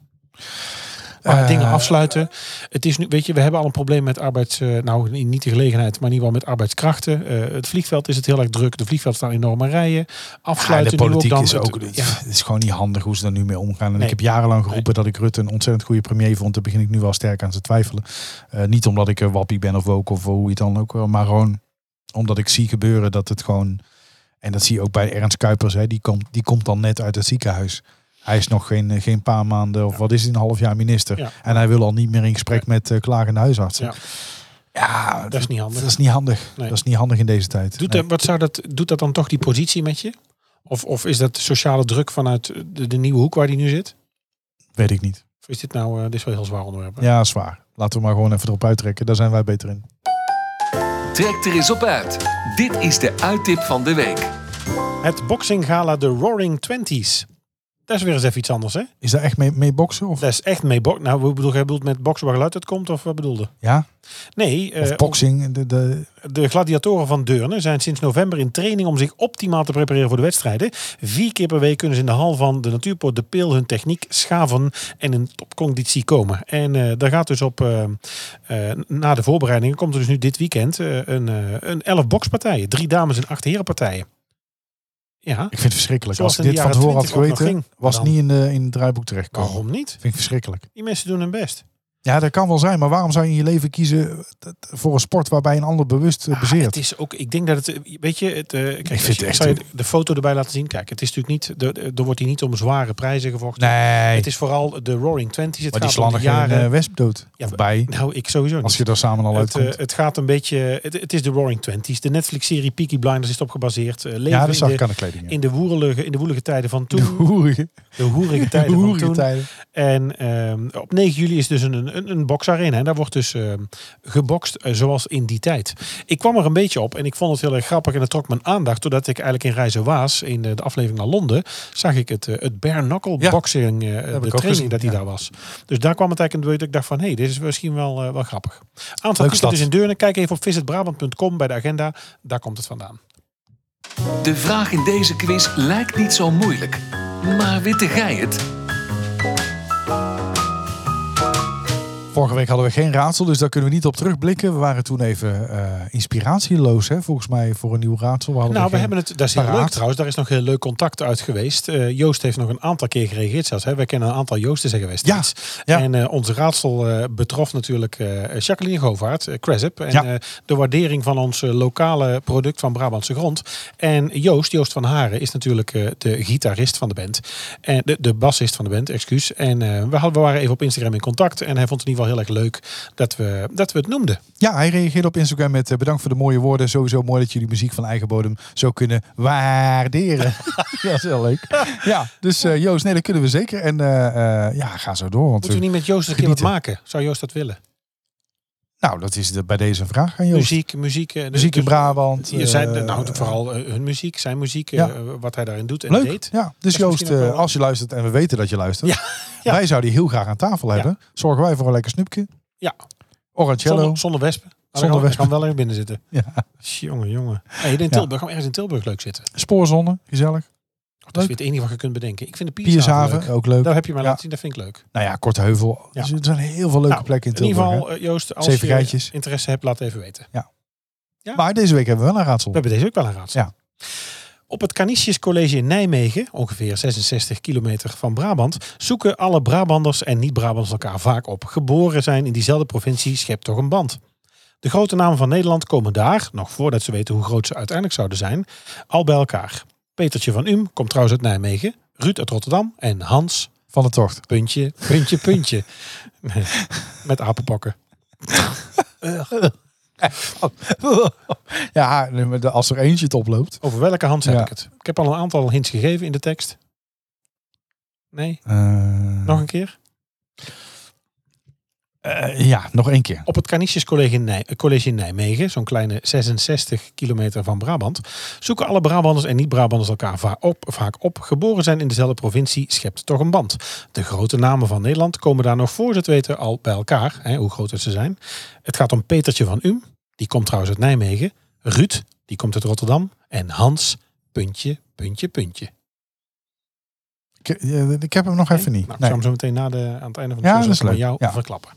S3: Maar
S2: Eh,
S3: dingen afsluiten. Het is nu, weet je, we hebben al een probleem met arbeids. eh, nou, niet de gelegenheid, maar in ieder geval met arbeidskrachten. Eh, het vliegveld is het heel erg druk. De vliegveld staan enorme rijen.
S2: Ja,
S3: Afsluiten
S2: Ah, de
S3: nu
S2: politiek
S3: ook dan.
S2: is ook.
S3: het-
S2: Het,
S3: ja,
S2: het is gewoon niet handig hoe ze daar nu mee omgaan. En
S3: Nee.
S2: ik heb jarenlang geroepen dat ik Rutte een ontzettend goede premier vond. Daar begin ik nu wel sterk aan te twijfelen. Eh, niet omdat ik een wappie ben of woke of hoe je het dan ook wel. Maar gewoon omdat ik zie gebeuren dat het gewoon. En dat zie je ook bij Ernst Kuipers. Hè, die, komt, die komt dan net uit het ziekenhuis. Hij is nog geen, eh, geen paar maanden of wat is het, een half jaar minister.
S3: Ja.
S2: En hij wil al niet meer in gesprek met eh, klagende huisartsen.
S3: Ja.
S2: Ja, dat,
S3: dat is niet handig.
S2: dat is niet handig.
S3: Nee.
S2: Dat is niet handig in deze tijd.
S3: Doet,
S2: Nee.
S3: dat, wat zou dat, doet dat dan toch die positie met je? Of, of is dat sociale druk vanuit de, de nieuwe hoek waar die nu zit?
S2: Weet ik niet.
S3: Of is dit nou, eh, dit is wel een heel zwaar onderwerp. hè?
S2: Ja, zwaar. Laten we maar gewoon even erop uittrekken. Daar zijn wij beter in.
S1: Trek er eens op uit. Dit is de uittip van de week.
S3: Het boxinggala de Roaring Twenties. Dat is weer eens even iets anders, hè?
S2: Is daar echt mee, mee boksen? Of,
S3: Dat is echt mee bok. Nou, wat bedoel, jij bedoelt met boksen waar geluid uit komt, of wat bedoelde?
S2: ja?
S3: Nee, eh,
S2: of boxing? De, de,
S3: de gladiatoren van Deurne zijn sinds november in training om zich optimaal te prepareren voor de wedstrijden. Vier keer per week kunnen ze in de hal van de Natuurpoort de Peel hun techniek schaven en in topconditie komen. En eh, daar gaat dus op, eh, eh, na de voorbereidingen, komt er dus nu dit weekend eh, een, eh, een elf bokspartijen. Drie dames en acht herenpartijen. Ja,
S2: ik vind het verschrikkelijk.
S3: Zoals
S2: Dus Als ik
S3: in
S2: dit
S3: de
S2: van
S3: jaren
S2: tevoren had
S3: 20 ook nog
S2: geweten,
S3: ging,
S2: was
S3: dan.
S2: het niet in, de, in het draaiboek terechtkomen.
S3: waarom niet?
S2: Vind ik verschrikkelijk.
S3: Die mensen doen hun best.
S2: Ja, dat kan wel zijn. Maar waarom zou je in je leven kiezen dat- voor een sport waarbij een ander bewust eh,
S3: Ah,
S2: bezeert?
S3: het is ook, ik denk dat het, eh, weet je, het, eh, kijk,
S2: vind
S3: als
S2: het
S3: je- ik
S2: echt
S3: zal je
S2: een-
S3: de foto erbij laten zien. Kijk, het is natuurlijk niet, de- de- er wordt hier niet om zware prijzen gevochten.
S2: nee,
S3: Het is vooral de Roaring Twenties. Het
S2: maar die
S3: gaat om de
S2: slannen geen
S3: jaren.
S2: eh, wesp dood.
S3: Ja,
S2: of
S3: we-
S2: bij,
S3: nou, ik sowieso
S2: als
S3: niet.
S2: je daar samen al
S3: Het,
S2: uitkomt.
S3: eh, het gaat een beetje. Het, het is de Roaring Twenties. De Netflix-serie Peaky Blinders is erop gebaseerd. Eh, leven
S2: ja, dat zag
S3: in,
S2: ik
S3: de,
S2: aan de kleding. ja.
S3: in, de woerelige, in de woelige tijden van
S2: De
S3: toen.
S2: hoerige,
S3: De hoerige
S2: de
S3: tijden van
S2: hoerige
S3: toen.
S2: tijden.
S3: En ehm, op 9 juli is dus een, een, een boksarena. En daar wordt dus ehm, gebokst eh, zoals in die tijd. Ik kwam er een beetje op en ik vond het heel erg grappig. En het trok mijn aandacht. Doordat ik eigenlijk in Reizen was, in de, de aflevering naar Londen, zag ik het, eh, het bare knuckle
S2: Ja,
S3: boxing, eh,
S2: ik ook
S3: de training
S2: gezien,
S3: dat die
S2: ja.
S3: daar was. Dus daar kwam het eigenlijk in door. dat Ik dacht van, hé, hey, dit is misschien wel, eh, wel grappig. Aantal
S2: Leuke
S3: tickets
S2: stad.
S3: dus in Deurne. Kijk even op visitbrabant.com bij de agenda. Daar komt het vandaan.
S1: De vraag in deze quiz lijkt niet zo moeilijk. Maar witte gij het?
S2: Vorige week hadden we geen raadsel, dus daar kunnen we niet op terugblikken. We waren toen even eh, inspiratieloos, hè, volgens mij, voor een nieuw raadsel. We hadden
S3: Nou, we
S2: geen-
S3: hebben het. Dat is heel
S2: paraat.
S3: leuk trouwens. Daar is nog heel leuk contact uit geweest. Eh, Joost heeft nog een aantal keer gereageerd zelfs. Hè. Wij kennen een aantal Joosten zijn geweest.
S2: Ja, ja.
S3: En eh, onze raadsel eh, betrof natuurlijk eh, Jacqueline Govaert, uh, En
S2: Ja.
S3: eh, de waardering van ons eh, lokale product van Brabantse grond. En Joost, Joost van Haren, is natuurlijk eh, de gitarist van de band. En de, de bassist van de band, excuus. En eh, we, hadden, we waren even op Instagram in contact. En hij vond het in ieder geval heel erg leuk dat we, dat we het noemden.
S2: Ja, hij reageerde op Instagram met eh, bedankt voor de mooie woorden. Sowieso mooi dat jullie muziek van eigen bodem zo kunnen waarderen. ja, dat is heel leuk. Ja, dus eh, Joost, nee, dat kunnen we zeker. En eh, eh, ja, ga zo door. Want
S3: Moeten we
S2: we-
S3: niet met Joost een keer wat
S2: Genieten.
S3: maken? Zou Joost dat willen?
S2: Nou, dat is de, bij deze een vraag aan Joost.
S3: Muziek, muziek. eh,
S2: Muziek in
S3: dus-
S2: Brabant.
S3: Je zei,
S2: eh,
S3: nou, vooral eh, hun muziek, zijn muziek, eh,
S2: ja.
S3: wat hij daarin doet en
S2: Leuk.
S3: deed.
S2: Ja, dus
S3: is misschien
S2: Joost,
S3: ook wel-
S2: eh, als je luistert en we weten dat je luistert,
S3: ja.
S2: wij zouden die heel graag aan tafel hebben. Zorgen wij voor een lekker snoepje.
S3: Ja.
S2: Orancello.
S3: Zonder, zonder wespen. Maar
S2: Zonder
S3: zonder
S2: wespen.
S3: wespen. kan wel even binnen zitten.
S2: Ja.
S3: Jongen, jongen. Hey, in Tilburg, gaan we ergens in Tilburg leuk zitten.
S2: Spoorzonne, gezellig.
S3: Dat is
S2: Leuk.
S3: weer het enige wat je kunt bedenken. Ik vind de Piershaven
S2: Piershaven,
S3: leuk.
S2: ook leuk.
S3: Daar heb je mij
S2: Ja.
S3: laten zien, dat vind ik leuk.
S2: Nou ja, Korte Heuvel.
S3: Ja.
S2: Dus er zijn heel veel leuke
S3: Nou,
S2: plekken in
S3: In ieder
S2: Tilburg.
S3: geval, eh, Joost, als
S2: Zeven
S3: je
S2: rijtjes.
S3: interesse hebt, laat even weten.
S2: hè. Maar deze week hebben we wel een raadsel.
S3: We hebben deze ook wel een raadsel.
S2: Ja.
S3: Op het Canisius College in Nijmegen, ongeveer 66 kilometer van Brabant, zoeken alle Brabanders en niet-Brabanders elkaar vaak op. Geboren zijn in diezelfde provincie schept toch een band. De grote namen van Nederland komen daar, nog voordat ze weten hoe groot ze uiteindelijk zouden zijn, al bij elkaar. Petertje van Um komt trouwens uit Nijmegen, Ruud uit Rotterdam en Hans,
S2: Van de tocht.
S3: puntje, puntje, puntje. Met apenpokken.
S2: ja, nee, maar de- als er eentje het oploopt.
S3: Over welke Hans heb
S2: Ja.
S3: ik het? Ik heb al een aantal hints gegeven in de tekst. Nee?
S2: Eh,
S3: Nog een keer?
S2: eh, ja, nog één keer.
S3: Op het Canisius College in, Nij- eh, College in Nijmegen, zo'n kleine 66 kilometer van Brabant, zoeken alle Brabanders en niet-Brabanders elkaar va- op, vaak op. Geboren zijn in dezelfde provincie schept toch een band. De grote namen van Nederland komen daar nog voor ze het weten al bij elkaar, hè, hoe groot het ze zijn. Het gaat om Petertje van Um, die komt trouwens uit Nijmegen, Ruud, die komt uit Rotterdam, en Hans, puntje, puntje, puntje.
S2: Ik, eh, ik heb hem nog even niet.
S3: Nou,
S2: Nee.
S3: ik zou hem zo meteen na de, aan het einde van
S2: Ja,
S3: het
S2: dat is
S3: van
S2: leuk.
S3: jou
S2: Ja.
S3: verklappen.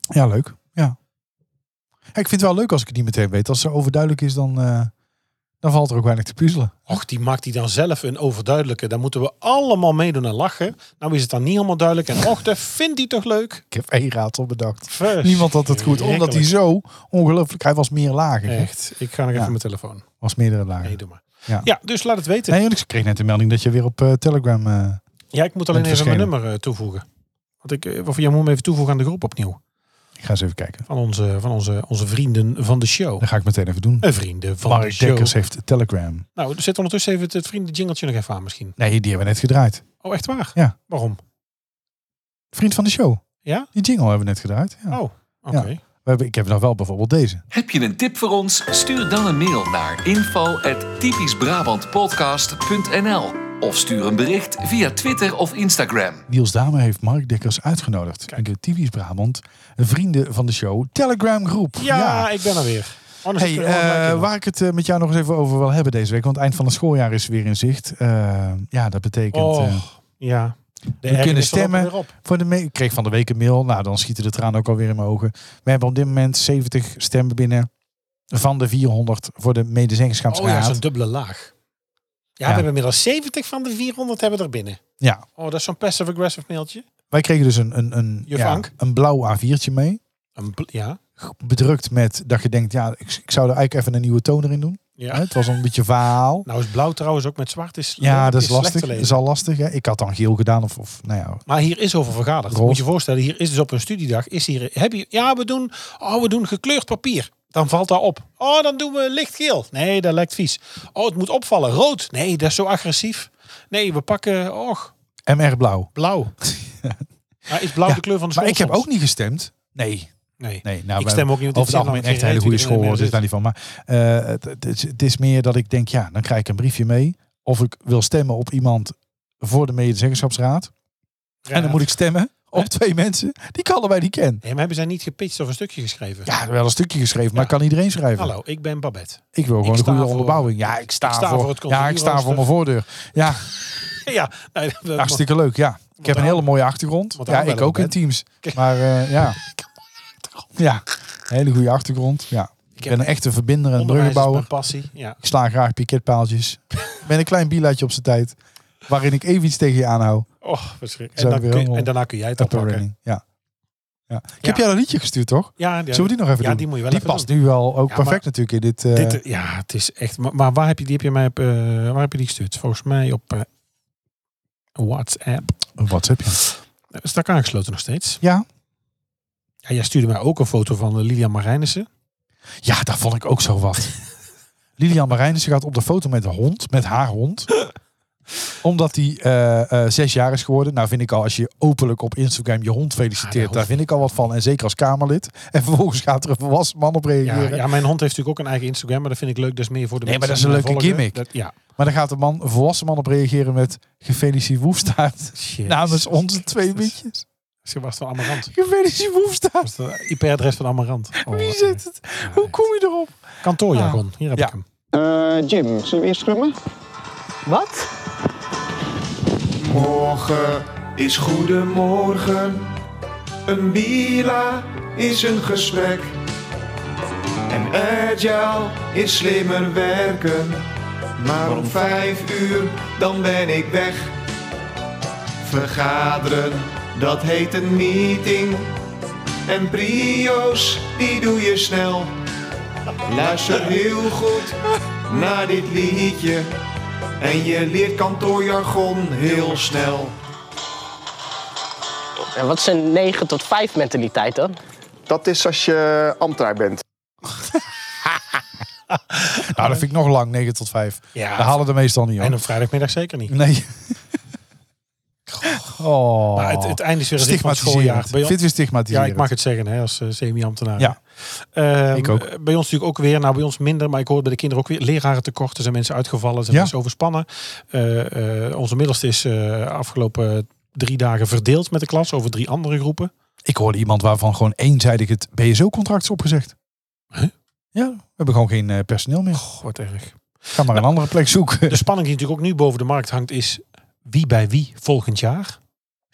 S2: Ja, leuk. Ja. Ja, Ik vind het wel leuk als ik het niet meteen weet. Als het zo overduidelijk is, dan, eh, dan valt er ook weinig te puzzelen.
S3: Och, die maakt die dan zelf een overduidelijke. Daar moeten we allemaal meedoen en lachen. Nou is het dan niet helemaal duidelijk. En och, dat vindt hij toch leuk?
S2: Ik heb één raadsel bedacht.
S3: Vers.
S2: Niemand had het goed, omdat hij zo ongelooflijk... Hij was meer lager. hè?
S3: Echt, ik ga nog
S2: Ja.
S3: even mijn telefoon.
S2: Was meerdere lager.
S3: Nee, doe maar.
S2: Ja.
S3: Ja, dus laat het weten.
S2: Nee, want ik kreeg net de melding dat je weer op eh, Telegram... eh,
S3: Ja, ik moet alleen
S2: Het
S3: even mijn
S2: verschenen.
S3: nummer eh, toevoegen. Want ik, eh, of jij moet hem even toevoegen aan de groep opnieuw.
S2: ik ga eens even kijken.
S3: Van onze, van onze, onze vrienden van de show.
S2: Dat ga ik meteen even doen.
S3: Eh, vrienden van de
S2: Mark
S3: show.
S2: Dekkers heeft Telegram.
S3: Nou, zet ondertussen even het, het vrienden jingeltje nog even aan misschien.
S2: Nee, die hebben we net gedraaid.
S3: Oh, echt waar?
S2: Ja.
S3: Waarom?
S2: Vriend van de show.
S3: Ja?
S2: Die jingle hebben we net gedraaid. Ja.
S3: Oh, oké.
S2: We hebben, ik heb nog wel bijvoorbeeld deze.
S1: Heb je een tip voor ons? Stuur dan een mail naar info@typischbrabantpodcast.nl of stuur een bericht via Twitter of Instagram.
S2: Niels Dame heeft Mark Dekkers uitgenodigd. In de Typisch Brabant. Vrienden van de show. Telegram groep.
S3: Ja, ik ben er weer. Anders
S2: Hey,
S3: zit er gewoon een
S2: eh,
S3: like in.
S2: waar ik het eh, met jou nog eens even over wil hebben deze week. Want eind van het schooljaar is weer in zicht. Eh, ja, dat betekent...
S3: Oh,
S2: eh,
S3: ja. De
S2: we kunnen
S3: ergernis loopt
S2: stemmen.
S3: weer op.
S2: Voor de me- ik kreeg van de week een mail. Nou, dan schieten de tranen ook alweer in mijn ogen. We hebben op dit moment 70 stemmen binnen. Van de 400 voor de
S3: Oh ja,
S2: medezeggenschapsraad.
S3: zo'n dubbele laag.
S2: Ja.
S3: Ja, we hebben inmiddels 70 van de 400 hebben er binnen.
S2: ja,
S3: Oh, dat is zo'n passive-aggressive mailtje.
S2: Wij kregen dus een, een, een,
S3: Juf
S2: ja,
S3: Ank?
S2: een blauw A4'tje mee.
S3: Een bl- ja.
S2: Bedrukt met dat je denkt, ja, ik, ik zou er eigenlijk even een nieuwe toner in doen.
S3: ja.
S2: Hè, Het was een beetje vaal.
S3: Nou is blauw trouwens ook met zwart. Oh, Is
S2: Ja, dat is
S3: slecht
S2: lastig.
S3: te
S2: Dat
S3: lezen.
S2: is al lastig. Hè? Ik had dan geel gedaan of, of nou ja.
S3: Maar hier is over vergaderd.
S2: Roze.
S3: Moet je je voorstellen, hier is dus op een studiedag. Is hier, heb je, ja, we doen, oh, we doen gekleurd papier. Dan valt dat op. Oh, dan doen we lichtgeel. Nee, dat lijkt vies. Oh, het moet opvallen. Rood. Nee, dat is zo agressief. Nee, we pakken, och,
S2: MR blauw.
S3: blauw. Maar Ah, is blauw
S2: Ja,
S3: de kleur van de
S2: Maar
S3: school
S2: ik heb
S3: soms?
S2: ook niet gestemd. Nee,
S3: Nee.
S2: nee. Nou,
S3: ik
S2: we
S3: stem ook niet. want
S2: over het
S3: ik zie
S2: algemeen
S3: lang
S2: echt een hele
S3: geen
S2: goede
S3: reet iedereen
S2: school. Dus daar
S3: meer
S2: niet van. Maar eh, het, het is, het is meer dat ik denk, ja, dan krijg ik een briefje mee. Of ik wil stemmen op iemand voor de medezeggenschapsraad.
S3: zit.
S2: En dan moet ik stemmen op
S3: Hè?
S2: twee mensen die ik allebei niet ken.
S3: Nee, maar hebben zij niet gepitcht of een stukje geschreven?
S2: Ja, wel een stukje geschreven, maar
S3: Ja.
S2: kan iedereen schrijven.
S3: Hallo, ik ben Babette.
S2: Ik wil gewoon
S3: sta
S2: een goede
S3: voor-
S2: onderbouwing. Ja, ik sta, voor,
S3: het
S2: Ja, ik sta voor mijn voordeur. Ja,
S3: ja, nee, dat-
S2: hartstikke leuk. Ja. Ik heb een
S3: daar-
S2: hele mooie achtergrond.
S3: want
S2: Ja,
S3: daar wel
S2: ik ook
S3: op, hè?
S2: in Teams.
S3: Kijk.
S2: Maar eh, ja. Ja, een hele goede achtergrond. Ja. Ik ben een echte verbinder en
S3: Onderwijs is
S2: bruggenbouwer.
S3: mijn passie. Ja.
S2: Ik sla graag piketpaaltjes. Ik ben een klein bilaatje op zijn tijd. Waarin ik even iets tegen je aanhoud.
S3: Oh, verschrikkelijk.
S2: Zijn
S3: En, dan
S2: we
S3: kun je-
S2: helemaal
S3: en daarna kun jij het
S2: Upper
S3: oppakken.
S2: running. Ja. Ja. Ik heb jou een liedje gestuurd, toch?
S3: Ja, ja,
S2: Zullen we die nog even
S3: ja,
S2: doen?
S3: die moet je wel even
S2: past nu wel ook
S3: Ja,
S2: perfect natuurlijk in dit... eh,
S3: Dit, ja, het is echt. Maar, maar waar heb je die, heb je mij op, eh, waar heb je die gestuurd? Volgens mij op eh, WhatsApp.
S2: WhatsApp.
S3: Is dat aangesloten nog steeds?
S2: Ja.
S3: Ja, jij stuurde mij ook een foto van eh, Lilian Marijnissen.
S2: Ja, daar vond ik ook zo wat. Lilian Marijnissen gaat op de foto met de hond, met haar hond. Omdat die eh, eh, zes jaar is geworden. Nou vind ik al, als je openlijk op Instagram je hond
S3: Ja,
S2: feliciteert,
S3: dat
S2: daar vind ik al wat van. En zeker als Kamerlid. En vervolgens gaat er een volwassen man op
S3: Ja,
S2: reageren.
S3: ja, mijn hond heeft natuurlijk ook een eigen Instagram, maar dat vind ik leuk. Dat is meer voor de
S2: Nee, maar
S3: mensen
S2: dat is
S3: die
S2: een
S3: mij
S2: leuke
S3: volgen.
S2: gimmick.
S3: Dat- ja.
S2: Maar dan gaat de man, een volwassen man op reageren met gefeliciteerd woefstaart.
S3: Jezus.
S2: Namens onze twee mietjes.
S3: Ze was van Amarant.
S2: Gefeliciteerd woefstaart.
S3: Was het IP-adres van Amarant. Oh,
S2: Wie
S3: wat
S2: zit het? Hoe kom je erop?
S3: een- Kantoorjargon. Hier heb
S2: Ja.
S3: ik hem.
S6: Eh, Jim, zullen we eerst scrummen?
S7: Wat?
S8: Morgen is goedemorgen. Een bila is een gesprek. En agile is slimmer werken. Maar om vijf uur dan ben ik weg. Vergaderen, dat heet een meeting. En prio's, die doe je snel. Luister heel goed naar dit liedje. En je leert kantoorjargon heel snel.
S7: En wat is een 9 tot 5 mentaliteit dan?
S9: Dat is als je ambtenaar bent.
S2: Nou, dat vind ik nog lang, 9 tot 5.
S3: Ja.
S2: Ja, Daar halen de meestal niet op.
S3: En op vrijdagmiddag zeker niet.
S2: Nee. Oh.
S3: Maar Nou, het, het einde is weer een rit van
S2: stigmatiserend.
S3: het schooljaar.
S2: Ik
S3: Bij
S2: vind
S3: ons,
S2: het weer stigmatiserend.
S3: Ja, ik mag het zeggen hè, als eh, semi-ambtenaar.
S2: Ja.
S3: Ehm,
S2: Ik ook.
S3: Bij ons natuurlijk ook weer, nou bij ons minder, maar ik hoor bij de kinderen ook weer leraren tekorten. Zijn mensen uitgevallen, zijn
S2: Ja.
S3: mensen overspannen. Eh, eh, onze middelste is eh, afgelopen drie dagen verdeeld met de klas over drie andere groepen.
S2: Ik hoorde iemand waarvan gewoon eenzijdig het BSO-contract is opgezegd.
S3: Huh?
S2: Ja, we hebben gewoon geen eh, personeel meer.
S3: Goh, Nou. wat erg.
S2: Ga maar een andere plek zoeken.
S3: De spanning die natuurlijk ook nu boven de markt hangt is wie bij wie volgend jaar.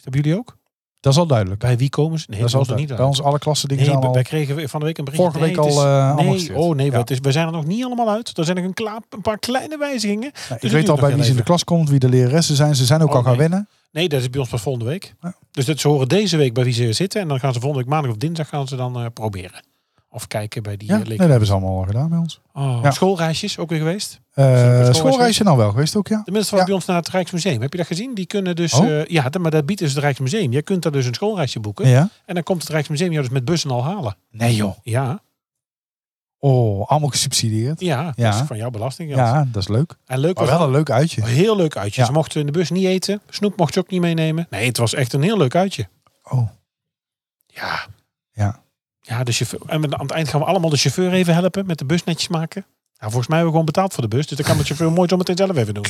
S3: Dat hebben jullie ook?
S2: dat is al duidelijk.
S3: Bij wie komen ze? Nee,
S2: dat is al
S3: was er
S2: duidelijk.
S3: niet
S2: Bij
S3: aan.
S2: ons alle klassen dingen
S3: Nee,
S2: zijn
S3: wij
S2: al...
S3: kregen we- van de week een bericht.
S2: Vorige week al,
S3: het
S2: eh, allemaal
S3: nee,
S2: gestuurd.
S3: oh nee,
S2: Ja.
S3: wat is, we zijn er nog niet allemaal uit. Er zijn nog een, kla- een paar kleine wijzigingen.
S2: Nou,
S3: het
S2: ik weet
S3: duurt
S2: al
S3: nog
S2: bij wie
S3: heel
S2: ze in de
S3: even.
S2: klas komt, wie de leraressen zijn. Ze zijn ook
S3: Oh,
S2: al gaan
S3: nee.
S2: wennen.
S3: Nee, dat is bij ons pas volgende week.
S2: Ja.
S3: Dus dat ze horen deze week bij wie ze zitten. En dan gaan ze volgende week maandag of dinsdag gaan ze dan eh, proberen. Of kijken bij die
S2: Ja,
S3: eh,
S2: nee,
S3: leek-
S2: dat hebben ze allemaal al gedaan bij ons.
S3: Oh,
S2: Ja.
S3: Schoolreisjes ook weer geweest.
S2: Eh
S3: schoolreis
S2: schoolreisje nou wel geweest ook, ja?
S3: De mensen van
S2: Ja.
S3: bij ons naar het Rijksmuseum. Heb je dat gezien? Die kunnen dus...
S2: Oh.
S3: eh, ja, maar dat biedt dus het Rijksmuseum. Je kunt daar dus een schoolreisje boeken.
S2: Ja?
S3: En dan komt het Rijksmuseum jou dus met bussen al halen.
S2: Nee joh.
S3: Ja,
S2: Oh, allemaal gesubsidieerd.
S3: ja.
S2: Ja.
S3: Dat is van jouw belasting.
S2: Ja, dat is leuk.
S3: En leuk
S2: Maar
S3: was
S2: wel een leuk uitje.
S3: Heel leuk uitje.
S2: Ja.
S3: Ze mochten in de bus niet eten. Snoep mocht ze ook niet meenemen. Nee, het was echt een heel leuk uitje.
S2: Oh.
S3: Ja.
S2: Ja.
S3: Ja, de chauffeur. En aan het eind gaan we allemaal de chauffeur even helpen met de bus netjes maken. Nou, volgens mij hebben we gewoon betaald voor de bus. Dus dan kan de chauffeur mooi zometeen zelf even doen.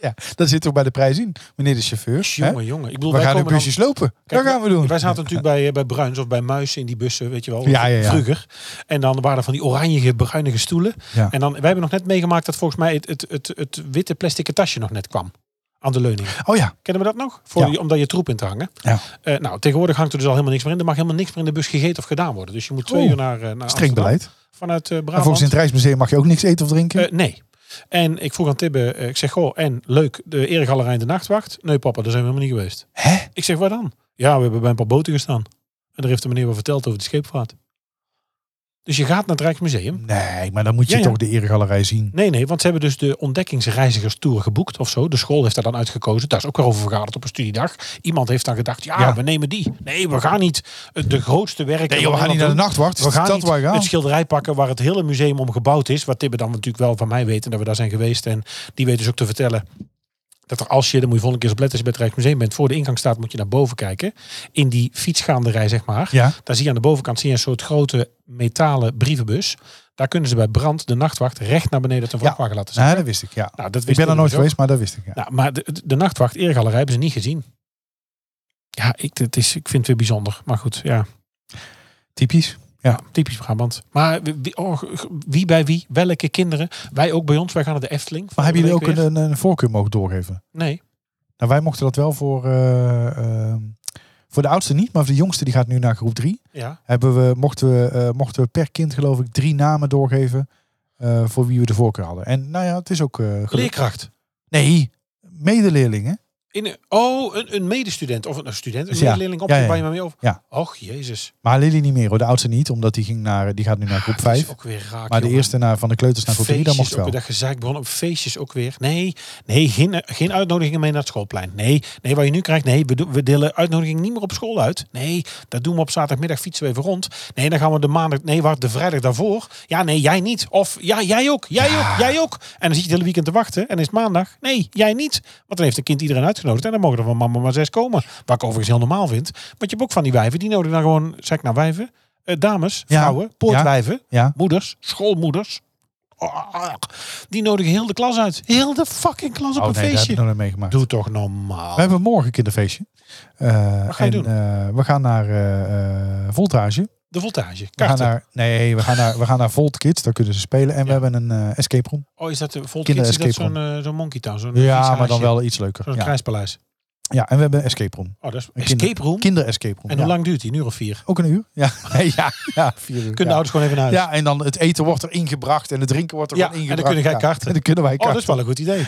S2: Ja, dat zit ook bij de prijs in, meneer de chauffeur. hè?
S3: Jongen, jongen. Ik bedoel,
S2: We
S3: wij
S2: gaan de
S3: komen dan-
S2: busjes lopen.
S3: Kijk,
S2: dat gaan we doen.
S3: Wij zaten natuurlijk bij, eh, bij Bruins of bij Muizen in die bussen, weet je wel.
S2: Ja, ja, ja.
S3: Vroeger. En dan waren er van die oranje bruinige stoelen.
S2: Ja.
S3: En dan, wij hebben nog net meegemaakt dat volgens mij het, het, het, het witte plastic tasje nog net kwam. Aan de leuning.
S2: Oh ja,
S3: Kennen we dat nog? Voor
S2: Ja.
S3: die- om daar je troep in te hangen.
S2: Ja.
S3: Eh, nou, tegenwoordig hangt er dus al helemaal niks meer in. Er mag helemaal niks meer in de bus gegeten of gedaan worden. Dus je moet twee
S2: Oeh,
S3: uur naar, eh, naar
S2: streng
S3: Amsterdam
S2: beleid.
S3: Vanuit eh
S2: En volgens
S3: Brabant.
S2: in het Rijksmuseum mag je ook niks eten of drinken.
S3: Eh, nee. En ik vroeg aan Tibbe, eh, ik zeg, goh, en leuk, de Eregalerij in de nachtwacht. Nee papa, daar zijn we helemaal niet geweest.
S2: Hè?
S3: Ik zeg, waar dan? Ja, we hebben bij een paar boten gestaan. En daar heeft de meneer wel verteld over de scheepvaart. Dus je gaat naar het Rijksmuseum.
S2: Nee, maar dan moet je
S3: Ja, ja.
S2: toch de eregalerij zien.
S3: Nee, nee, want ze hebben dus de ontdekkingsreizigerstour geboekt of zo. De school heeft daar dan uitgekozen. Daar is ook weer over vergaderd op een studiedag. Iemand heeft dan gedacht, ja,
S2: Ja.
S3: we nemen die. Nee, we gaan niet de grootste werken.
S2: Nee, joh, we gaan niet naar de nachtwacht.
S3: We gaan
S2: dat
S3: niet
S2: waar je
S3: het
S2: gaat.
S3: schilderij pakken waar het hele museum om gebouwd is. Wat Tibbe dan natuurlijk wel van mij weet en dat we daar zijn geweest. En die weet dus ook te vertellen dat er als je, dan moet je volgende keer op letten als je bij het Rijksmuseum bent, voor de ingang staat, moet je naar boven kijken. In die fietsgaanderij, zeg maar.
S2: Ja.
S3: Daar zie je aan de bovenkant zie je een soort grote metalen brievenbus. Daar kunnen ze bij brand de nachtwacht recht naar beneden ten vrachtwagen laten zetten.
S2: Nee, dat wist ik, ja.
S3: Nou, dat
S2: ik
S3: wist
S2: ben er nooit
S3: dus ook.
S2: geweest, maar dat wist ik. Ja.
S3: Nou, maar de, de- de nachtwacht eergalerij hebben ze niet gezien. Ja, ik, het is, ik vind het weer bijzonder. Maar goed, ja.
S2: Typisch.
S3: ja typisch Brabant. Maar wie, oh, wie bij wie? Welke kinderen? Wij ook bij ons. Wij gaan naar de Efteling.
S2: Maar hebben
S3: Volgende
S2: jullie ook
S3: week
S2: een, een, een voorkeur mogen doorgeven?
S3: weer. Nee.
S2: Nou, wij mochten dat wel voor, eh, eh, Voor de oudste niet, maar voor de jongste die gaat nu naar groep 3.
S3: Ja.
S2: Hebben we, mochten, we, eh, mochten we per kind geloof ik drie namen doorgeven eh, voor wie we de voorkeur hadden. En nou ja, het is ook eh gelukt.
S3: Leerkracht.
S2: Nee, medeleerlingen.
S3: In een- oh, een, een medestudent. Of een een student, een
S2: Ja.
S3: medeleerling op
S2: Ja, ja,
S3: waar je
S2: ja.
S3: maar mee over.
S2: Ja.
S3: Och, jezus.
S2: Maar Lily niet meer hoor, de oudste niet, omdat die, ging naar, die gaat nu naar groep
S3: Dat Ah, is
S2: 5.
S3: ook weer
S2: Maar
S3: raak,
S2: de
S3: jongen.
S2: eerste naar, van de kleuters naar groep 3, dat mocht
S3: Feestjes ook
S2: wel.
S3: weer, dat gezeik begon op feestjes ook weer. Nee, nee geen, geen uitnodigingen mee naar het schoolplein. Nee, nee, wat je nu krijgt, nee, we, do- we delen uitnodigingen niet meer op school uit. Nee, dat doen we op zaterdagmiddag fietsen we even rond. Nee, dan gaan we de maandag, nee, wacht, de vrijdag daarvoor. Ja, nee, jij niet. Of ja, jij ook, jij ook, jij ook. En dan zit je het hele weekend te wachten en dan is het maandag. Nee, jij niet. Want dan heeft een kind iedereen uitgenodigd en dan mogen er van mama maar zes komen. Wat ik overigens heel normaal vind. Want je hebt ook van die wijven, die nodigen dan gewoon, zeg ik nou wijven, eh, dames,
S2: Ja,
S3: vrouwen,
S2: ja.
S3: poortwijven
S2: Ja,
S3: moeders, schoolmoeders. Ah, Die nodigen heel de klas uit. Heel de fucking klas op
S2: oh,
S3: een
S2: nee, daar heb
S3: feestje.
S2: ik nog niet meegemaakt.
S3: Doe toch normaal.
S2: We hebben morgen kinderfeestje. Eh,
S3: Wat ga je
S2: en,
S3: doen?
S2: eh, we gaan naar eh, eh, Voltage.
S3: De voltage.
S2: We gaan
S3: Kaarten.
S2: naar, nee, we gaan naar, we gaan naar Volt Kids. Daar kunnen ze spelen. En we hebben een eh, escape room.
S3: Oh, is dat de Volt
S2: Kinder
S3: Kids? Is dat
S2: escape
S3: zo'n eh, zo'n monkey town? Zo'n
S2: Ja,
S3: vies
S2: maar dan
S3: huisje?
S2: wel iets leuker.
S3: Zo'n
S2: Ja.
S3: krijspaleis.
S2: ja, en we hebben een escape room.
S3: Oh, dat is
S2: Een
S3: escape room.
S2: Kinder-escape room.
S3: En hoe
S2: ja.
S3: lang duurt die? Een uur of vier?
S2: Ook een uur. Ja, nee, ja, ja vier uur.
S3: Kunnen de
S2: ja.
S3: ouders gewoon even naar huis?
S2: ja, en dan het eten wordt er ingebracht en het drinken wordt er
S3: Ja,
S2: gewoon
S3: en dan
S2: ingebracht.
S3: kunnen wij
S2: Ja,
S3: karten.
S2: En dan kunnen wij
S3: Oh, dat
S2: karten.
S3: is wel een goed idee.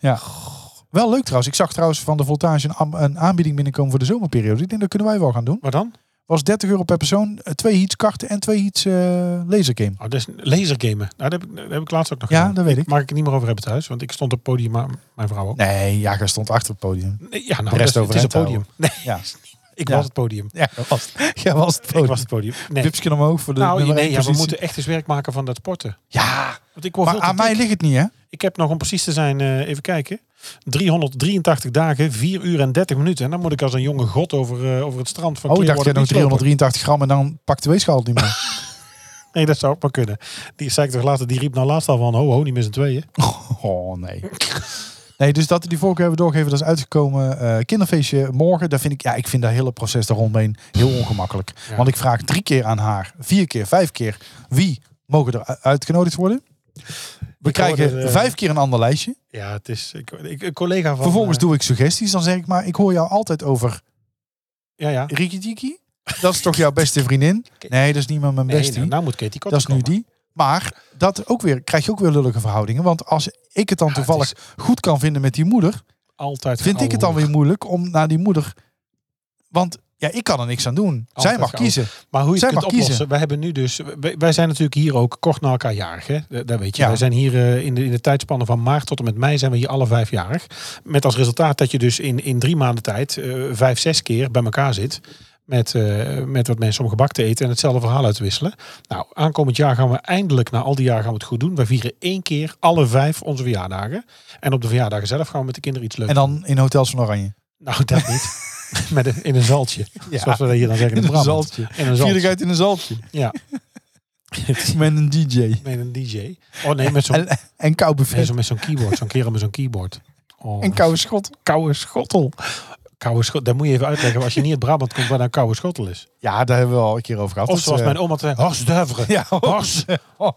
S2: Wel leuk trouwens. Ik zag trouwens van de Voltage een, am- een aanbieding binnenkomen voor de zomerperiode. Ik denk dat kunnen wij wel gaan doen.
S3: Maar dan?
S2: Was 30 euro per persoon, eh, twee heats karten en twee heats eh lasergame.
S3: Oh, dat is lasergamen. Nou, dat heb, ik, dat heb ik laatst ook nog
S2: Ja,
S3: gedaan.
S2: dat weet ik.
S3: Mag ik het niet meer over hebben thuis? Want ik stond op het podium, maar mijn vrouw ook.
S2: Nee, ja, hij stond achter het podium.
S3: Nee, ja, nou,
S2: De rest
S3: dat, het is
S2: overeind
S3: een podium. Nee,
S2: Ja.
S3: ik
S2: Ja.
S3: was het podium.
S2: Ja, dat was, ja, was het
S3: Ik
S2: podium.
S3: was het podium. Nee.
S2: Wipsje omhoog voor de
S3: Nou,
S2: nummer
S3: nee,
S2: één
S3: ja, we
S2: positie.
S3: moeten echt eens werk maken van dat sporten.
S2: Ja,
S3: Want ik word
S2: maar
S3: veel te
S2: aan mij
S3: dik.
S2: ligt het niet, hè?
S3: Ik heb nog, om precies te zijn, eh, even kijken. 383 dagen, 4 uur en 30 minuten. En dan moet ik als een jonge god over, eh, over het strand van
S2: Oh, ik dacht
S3: Clearwater
S2: jij nog
S3: Beach lopen.
S2: 383 gram en dan pakt de weegschaal het niet meer.
S3: Nee, dat zou ook maar kunnen. Die zei ik toch later, die riep nou laatst al van... Ho, ho, niet met z'n tweeën.
S2: Oh, nee. Nee, dus dat we die voorkeur hebben doorgegeven, dat is uitgekomen. Eh, kinderfeestje morgen, daar vind ik, ja, ik vind dat hele proces daar rondomheen heel ongemakkelijk.
S3: Ja.
S2: Want ik vraag drie keer aan haar, vier keer, vijf keer, wie mogen er u- uitgenodigd worden? We krijgen
S3: hoorde, eh,
S2: vijf keer een ander lijstje.
S3: Ja, het is... Ik, ik, een collega van...
S2: Vervolgens
S3: eh,
S2: doe ik suggesties, dan zeg ik maar, ik hoor jou altijd over
S3: Ja, ja.
S2: Riki Tiki. Dat is toch jouw beste vriendin? Nee, dat is niet meer mijn
S3: Nee,
S2: bestie.
S3: nou, nou moet Katie Kotter
S2: Dat is nu
S3: komen.
S2: die. Maar dat ook weer, krijg je ook weer lullige verhoudingen. Want als ik het dan
S3: Ja, het
S2: toevallig goed kan vinden met die moeder,
S3: Altijd
S2: vind ik het dan
S3: geouwehoer.
S2: weer moeilijk om naar die moeder. Want ja, ik kan er niks aan doen. Zij
S3: Altijd
S2: mag
S3: geouwe-
S2: kiezen.
S3: Maar hoe je
S2: Zij
S3: het kunt
S2: mag kiezen.
S3: oplossen. Wij hebben nu dus. Wij, wij zijn natuurlijk hier ook kort na elkaar jarig. Hè? Dat dat weet je.
S2: Ja.
S3: Wij zijn hier eh, in, de, in de tijdspanne van maart tot en met mei zijn we hier alle vijf jarig. Met als resultaat dat je dus in, in drie maanden tijd eh, vijf, zes keer bij elkaar zit. Met, eh, met wat mensen om gebak te eten en hetzelfde verhaal uitwisselen. Nou, aankomend jaar gaan we eindelijk, na al die jaren gaan we het goed doen. We vieren één keer alle vijf onze verjaardagen. En op de verjaardagen zelf gaan we met de kinderen iets leuks
S2: En dan in Hotels van Oranje.
S3: Nou, dat niet. met een, in een zaltje. Zoals we dat hier dan zeggen in,
S2: In een
S3: Brabant.
S2: zaltje.
S3: In een zaltje.
S2: Vierigheid in een zaltje.
S3: Ja.
S2: Met een DJ.
S3: Met een DJ. Oh nee, met zo'n
S2: En, en kou
S3: nee, zo met zo'n keyboard. Zo'n kerel met zo'n keyboard. Oh,
S2: En koude schot.
S3: koude schottel. Koude schottel. Dat moet je even uitleggen als je niet uit Brabant komt wat een koude schottel is.
S2: Ja, daar hebben we al een keer over gehad.
S3: Of zoals
S2: eh,
S3: mijn oma te zeggen, harsduiveren.
S2: Ja,
S3: Hars.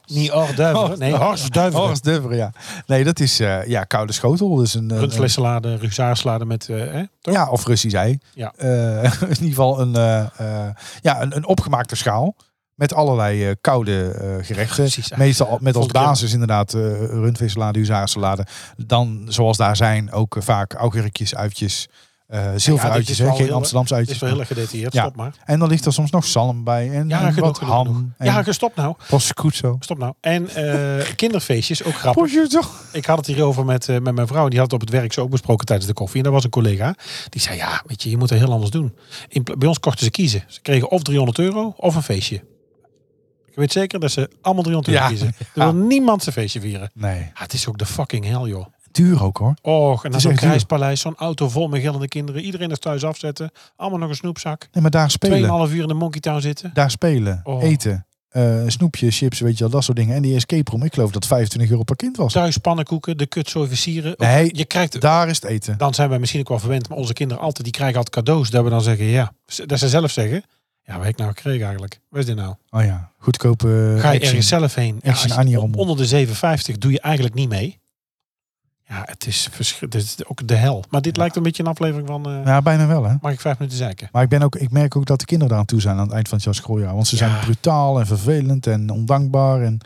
S3: Niet harsduiveren. Nee, harsduiveren.
S2: Horst Duveren, ja. Nee, dat is eh, ja, koude schotel. Dus een, een, een-
S3: Rundvleessalade, rugzaarsalade met... eh, hè? Toch?
S2: Ja, of Russisch ei.
S3: Ja.
S2: Eh, in ieder geval een, eh, eh, ja, een, een opgemaakte schaal. Met allerlei eh, koude eh, gerechten.
S3: Precies, eh, ja.
S2: Meestal al- met als
S3: Vond ik heel-
S2: basis inderdaad eh rundvissalade, huzaarsalade. Dan, zoals daar zijn, ook eh, vaak augurkjes, uitjes, eh zilveruitjes.
S3: is
S2: hè,
S3: wel
S2: geen
S3: heel-
S2: Amsterdamse
S3: Het
S2: uitjes.
S3: is wel heel erg gedetailleerd,
S2: Ja.
S3: stop maar.
S2: En dan ligt er soms nog zalm bij. En,
S3: Ja,
S2: en
S3: genoeg,
S2: wat
S3: genoeg,
S2: ham.
S3: genoeg.
S2: En
S3: Ja, stop nou.
S2: prosciutto.
S3: Stop nou. En eh, kinderfeestjes, ook grappig.
S2: Prosciutto.
S3: Ik had het hierover met, eh, met mijn vrouw. Die had het op het werk zo ook besproken tijdens de koffie. En daar was een collega. Die zei, ja, weet je, je moet er heel anders doen. In, pla- bij ons kochten ze kiezen. Ze kregen of 300 euro of een feestje. Ik weet zeker dat ze allemaal 300 euro
S2: Ja.
S3: kiezen. Er wil niemand zijn feestje vieren.
S2: Nee,
S3: Ja, het is ook de fucking hel, joh.
S2: duur ook hoor.
S3: Och, en dan
S2: is
S3: zo'n
S2: echt duur.
S3: krijspaleis. Zo'n auto vol met gillende kinderen. Iedereen er thuis afzetten. Allemaal nog een snoepzak.
S2: Nee, maar daar spelen.
S3: Tweeënhalf uur in de Monkey Town zitten.
S2: daar spelen,
S3: Oh.
S2: eten, eh snoepje, chips, weet je wel, dat soort dingen. En die escape room, ik geloof dat 25 euro per kind was.
S3: Thuis pannenkoeken, de kutzooi versieren.
S2: Nee,
S3: Je krijgt
S2: daar is het eten.
S3: dan zijn wij misschien ook wel verwend, maar onze kinderen altijd, die krijgen altijd cadeaus. Dat we dan zeggen, ja, dat ze zelf zeggen, ja, wat heb ik nou gekregen eigenlijk? Wat is dit nou?
S2: Oh ja, goedkope eh,
S3: Ga je
S2: action.
S3: ergens zelf heen? Ja,
S2: Action
S3: als je
S2: Annie
S3: op-
S2: rommel.
S3: onder de 7,50 doe je eigenlijk niet mee. Ja, het is, verschri- het is ook de hel. Maar dit lijkt een beetje een aflevering van... eh,
S2: Ja, bijna wel hè.
S3: Mag ik vijf minuten zeiken?
S2: Maar ik, ben ook, ik merk ook dat de kinderen daar aan toe zijn aan het eind van het schooljaar. Want ze
S3: Ja.
S2: zijn brutaal en vervelend en ondankbaar. En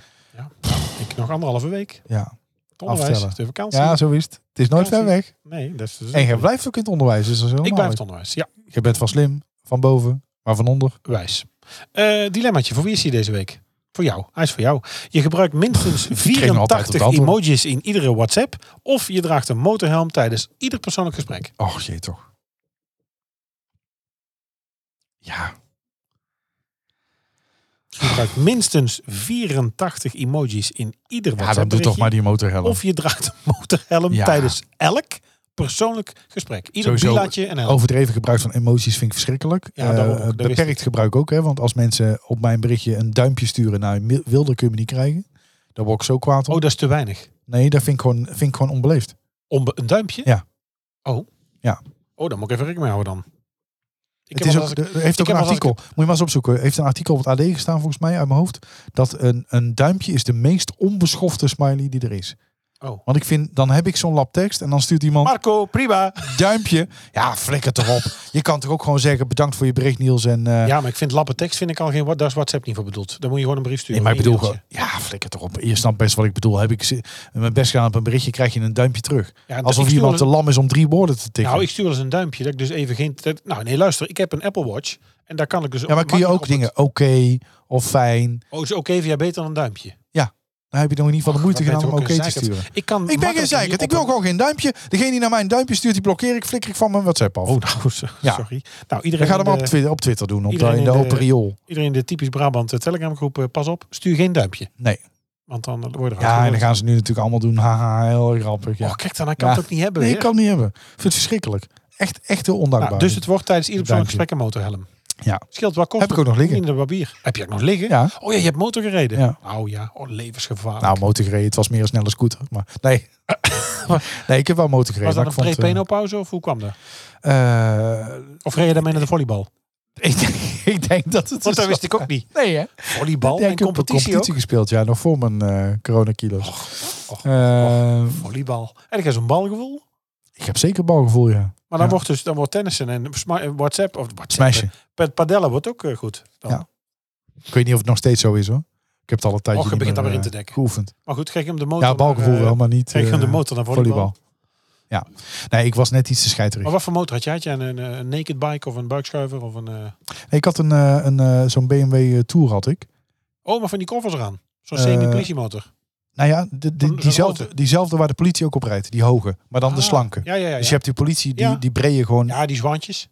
S3: Ik nog anderhalve week.
S2: ja,
S3: Het onderwijs,
S2: Aftellen.
S3: de vakantie.
S2: ja zo is het. Het is nooit ver
S3: Vakantie.
S2: weg.
S3: Nee, dat is dus
S2: En jij blijft ook in het onderwijs. Dus dat is
S3: Ik
S2: helemaal
S3: blijf het
S2: leuk.
S3: onderwijs. Ja,
S2: Je bent van slim, van boven, maar van onder.
S3: wijs. Eh dilemmaatje, voor wie is hij deze week? Voor jou. Hij is voor jou. Je gebruikt minstens
S2: kreeg me altijd het
S3: 84
S2: antwoord.
S3: emojis in iedere WhatsApp. Of je draagt een motorhelm tijdens ieder persoonlijk gesprek.
S2: Och jee toch. Ja,
S3: Je gebruikt minstens 84 emojis in ieder
S2: Ah. ja
S3: WhatsApp.
S2: dan doe toch maar die motorhelm.
S3: Of je draagt een motorhelm
S2: Ja.
S3: tijdens elk persoonlijk gesprek. Ieder
S2: Sowieso
S3: bilaatje en helm.
S2: Overdreven gebruik van emoties vind ik verschrikkelijk.
S3: Ja, daarom ook.
S2: Eh,
S3: Dat wist
S2: beperkt gebruik ook, hè, want als mensen op mijn berichtje een duimpje sturen, nou, mi- wilde kun je me niet krijgen. Daar word ik zo kwaad
S3: Oh,
S2: op.
S3: dat is te weinig.
S2: Nee, dat vind ik gewoon, vind ik gewoon onbeleefd.
S3: Onbe een duimpje?
S2: Ja.
S3: Oh.
S2: Ja.
S3: Oh, dan moet ik even rekening mee houden dan. Ik
S2: het
S3: heb
S2: is
S3: wel
S2: ook,
S3: eens-
S2: er heeft ook
S3: heb
S2: een
S3: wel eens-
S2: artikel, moet je maar eens opzoeken, heeft een artikel op het AD gestaan volgens mij uit mijn hoofd, dat een, een duimpje is de meest onbeschofte smiley die er is.
S3: Oh.
S2: Want ik vind, dan heb ik zo'n lap tekst en dan stuurt iemand
S3: Marco, prima.
S2: duimpje. Ja, flikker toch op. Je kan toch ook gewoon zeggen, bedankt voor je bericht Niels en... eh,
S3: Ja, maar ik vind lappe tekst vind ik al geen... wa- Daar is WhatsApp niet voor bedoeld. Dan moet je gewoon een brief
S2: Nee,
S3: sturen.
S2: maar ik
S3: een
S2: bedoel gewoon,
S3: e-mailtje.
S2: ja, flikker toch op. Je snapt best wat ik bedoel. Heb ik ze- mijn best gedaan op een berichtje, krijg je een duimpje terug.
S3: Ja, dat- ik
S2: Alsof
S3: stuur
S2: iemand te
S3: wel
S2: lam is om drie woorden te tikken.
S3: Nou, ik stuur wel eens een duimpje. Dat ik dus even geen... dat- nou, nee, luister. Ik heb een Apple Watch. En daar kan ik dus...
S2: ja, maar kun je ook
S3: makkelijk
S2: dingen,
S3: op het-
S2: oké of fijn.
S3: Oh, is oké voor jou beter dan een duimpje?
S2: Dan heb je nog in ieder geval de moeite
S3: Wat ben
S2: gedaan
S3: je
S2: om
S3: toch
S2: oké
S3: ook een
S2: te
S3: zeikert.
S2: sturen.
S3: Ik, kan
S2: Ik ben geen
S3: makkelijk
S2: zeikert.
S3: hier
S2: Ik wil
S3: op-
S2: gewoon geen duimpje. Degene die naar mij een duimpje stuurt, die blokkeer ik, flikker ik van mijn WhatsApp af.
S3: Oh, nou, so-
S2: Ja.
S3: sorry. Nou,
S2: Dan
S3: iedereen,
S2: ga
S3: in
S2: hem op
S3: de-
S2: Twitter, op Twitter doen, op de,
S3: iedereen
S2: in de
S3: in de-
S2: open riool.
S3: iedereen in de typisch Brabant eh, telegramgroep, eh, pas op, stuur geen duimpje.
S2: Nee.
S3: Want dan eh, word je eruit
S2: Ja, en
S3: gegooid.
S2: dan gaan ze nu natuurlijk allemaal doen. Haha, heel grappig. Ja.
S3: Oh, kijk dan, hij kan
S2: Ja.
S3: het ook niet hebben.
S2: Nee, ik
S3: weer.
S2: kan het niet hebben. Ik vind het verschrikkelijk. Echt, echt heel
S3: Nou,
S2: ondankbaar.
S3: dus het wordt tijdens ieder persoonlijk
S2: Duimpje.
S3: gesprek een motorhelm.
S2: Ja.
S3: Scheelt wat kost.
S2: Heb ik ook nog liggen.
S3: In de barbier. Heb je ook nog liggen?
S2: Ja.
S3: Oh ja, je hebt motor gereden.
S2: Ja.
S3: Oh ja, oh, levensgevaarlijk.
S2: Nou, motor gereden. Het was meer een snelle scooter. Maar nee. nee, ik heb wel motor gereden.
S3: was dat een
S2: maar ik vond,
S3: pre pauze of hoe kwam dat?
S2: eh, eh,
S3: Of reed je daarmee naar de volleybal?
S2: ik, denk, ik denk dat het...
S3: Want dat
S2: is-
S3: wist ik ook niet.
S2: Nee, hè?
S3: Volleybal
S2: Ja,
S3: en
S2: ik heb op een
S3: competitie,
S2: competitie
S3: ook.
S2: gespeeld. Ja, nog voor mijn eh coronakilo's.
S3: och,
S2: Eh,
S3: Volleybal. En ik heb zo'n balgevoel.
S2: Ik heb zeker balgevoel, ja.
S3: Maar dan
S2: Ja.
S3: wordt dus dan wordt tennissen en sma- eh, WhatsApp of WhatsApp.
S2: Smashen.
S3: eh, Padellen wordt ook eh, goed. Dan.
S2: Ja. Ik weet niet of het nog steeds zo is, hoor. Ik heb het al een tijdje
S3: Och, je
S2: niet
S3: begint
S2: meer,
S3: alweer in
S2: eh,
S3: te dekken.
S2: geoefend.
S3: Maar goed, kreeg je hem de motor.
S2: Ja, balgevoel
S3: naar, eh,
S2: wel, maar niet
S3: Kreeg je hem de
S2: eh,
S3: motor naar volleybal.
S2: volleybal. Ja. Nee, ik was net iets te scheiterig.
S3: Maar wat voor motor had je? Had je een, een, een naked bike of een buikschuiver of een... eh,
S2: Nee, ik had een, eh, een, eh, zo'n BMW eh, Tour, had ik.
S3: Oh, maar van die koffers eraan. Zo'n
S2: Eh,
S3: semi-politiemotor.
S2: Nou ja, de- de-
S3: Zo'n- zo'n
S2: diezelfde,
S3: grote.
S2: diezelfde waar de politie ook op rijdt. Die hoge, maar dan de
S3: Ah,
S2: slanke.
S3: Ja, ja, ja.
S2: Dus je
S3: ja.
S2: hebt die politie, die,
S3: Ja.
S2: die brede gewoon.
S3: ja, die zwantjes.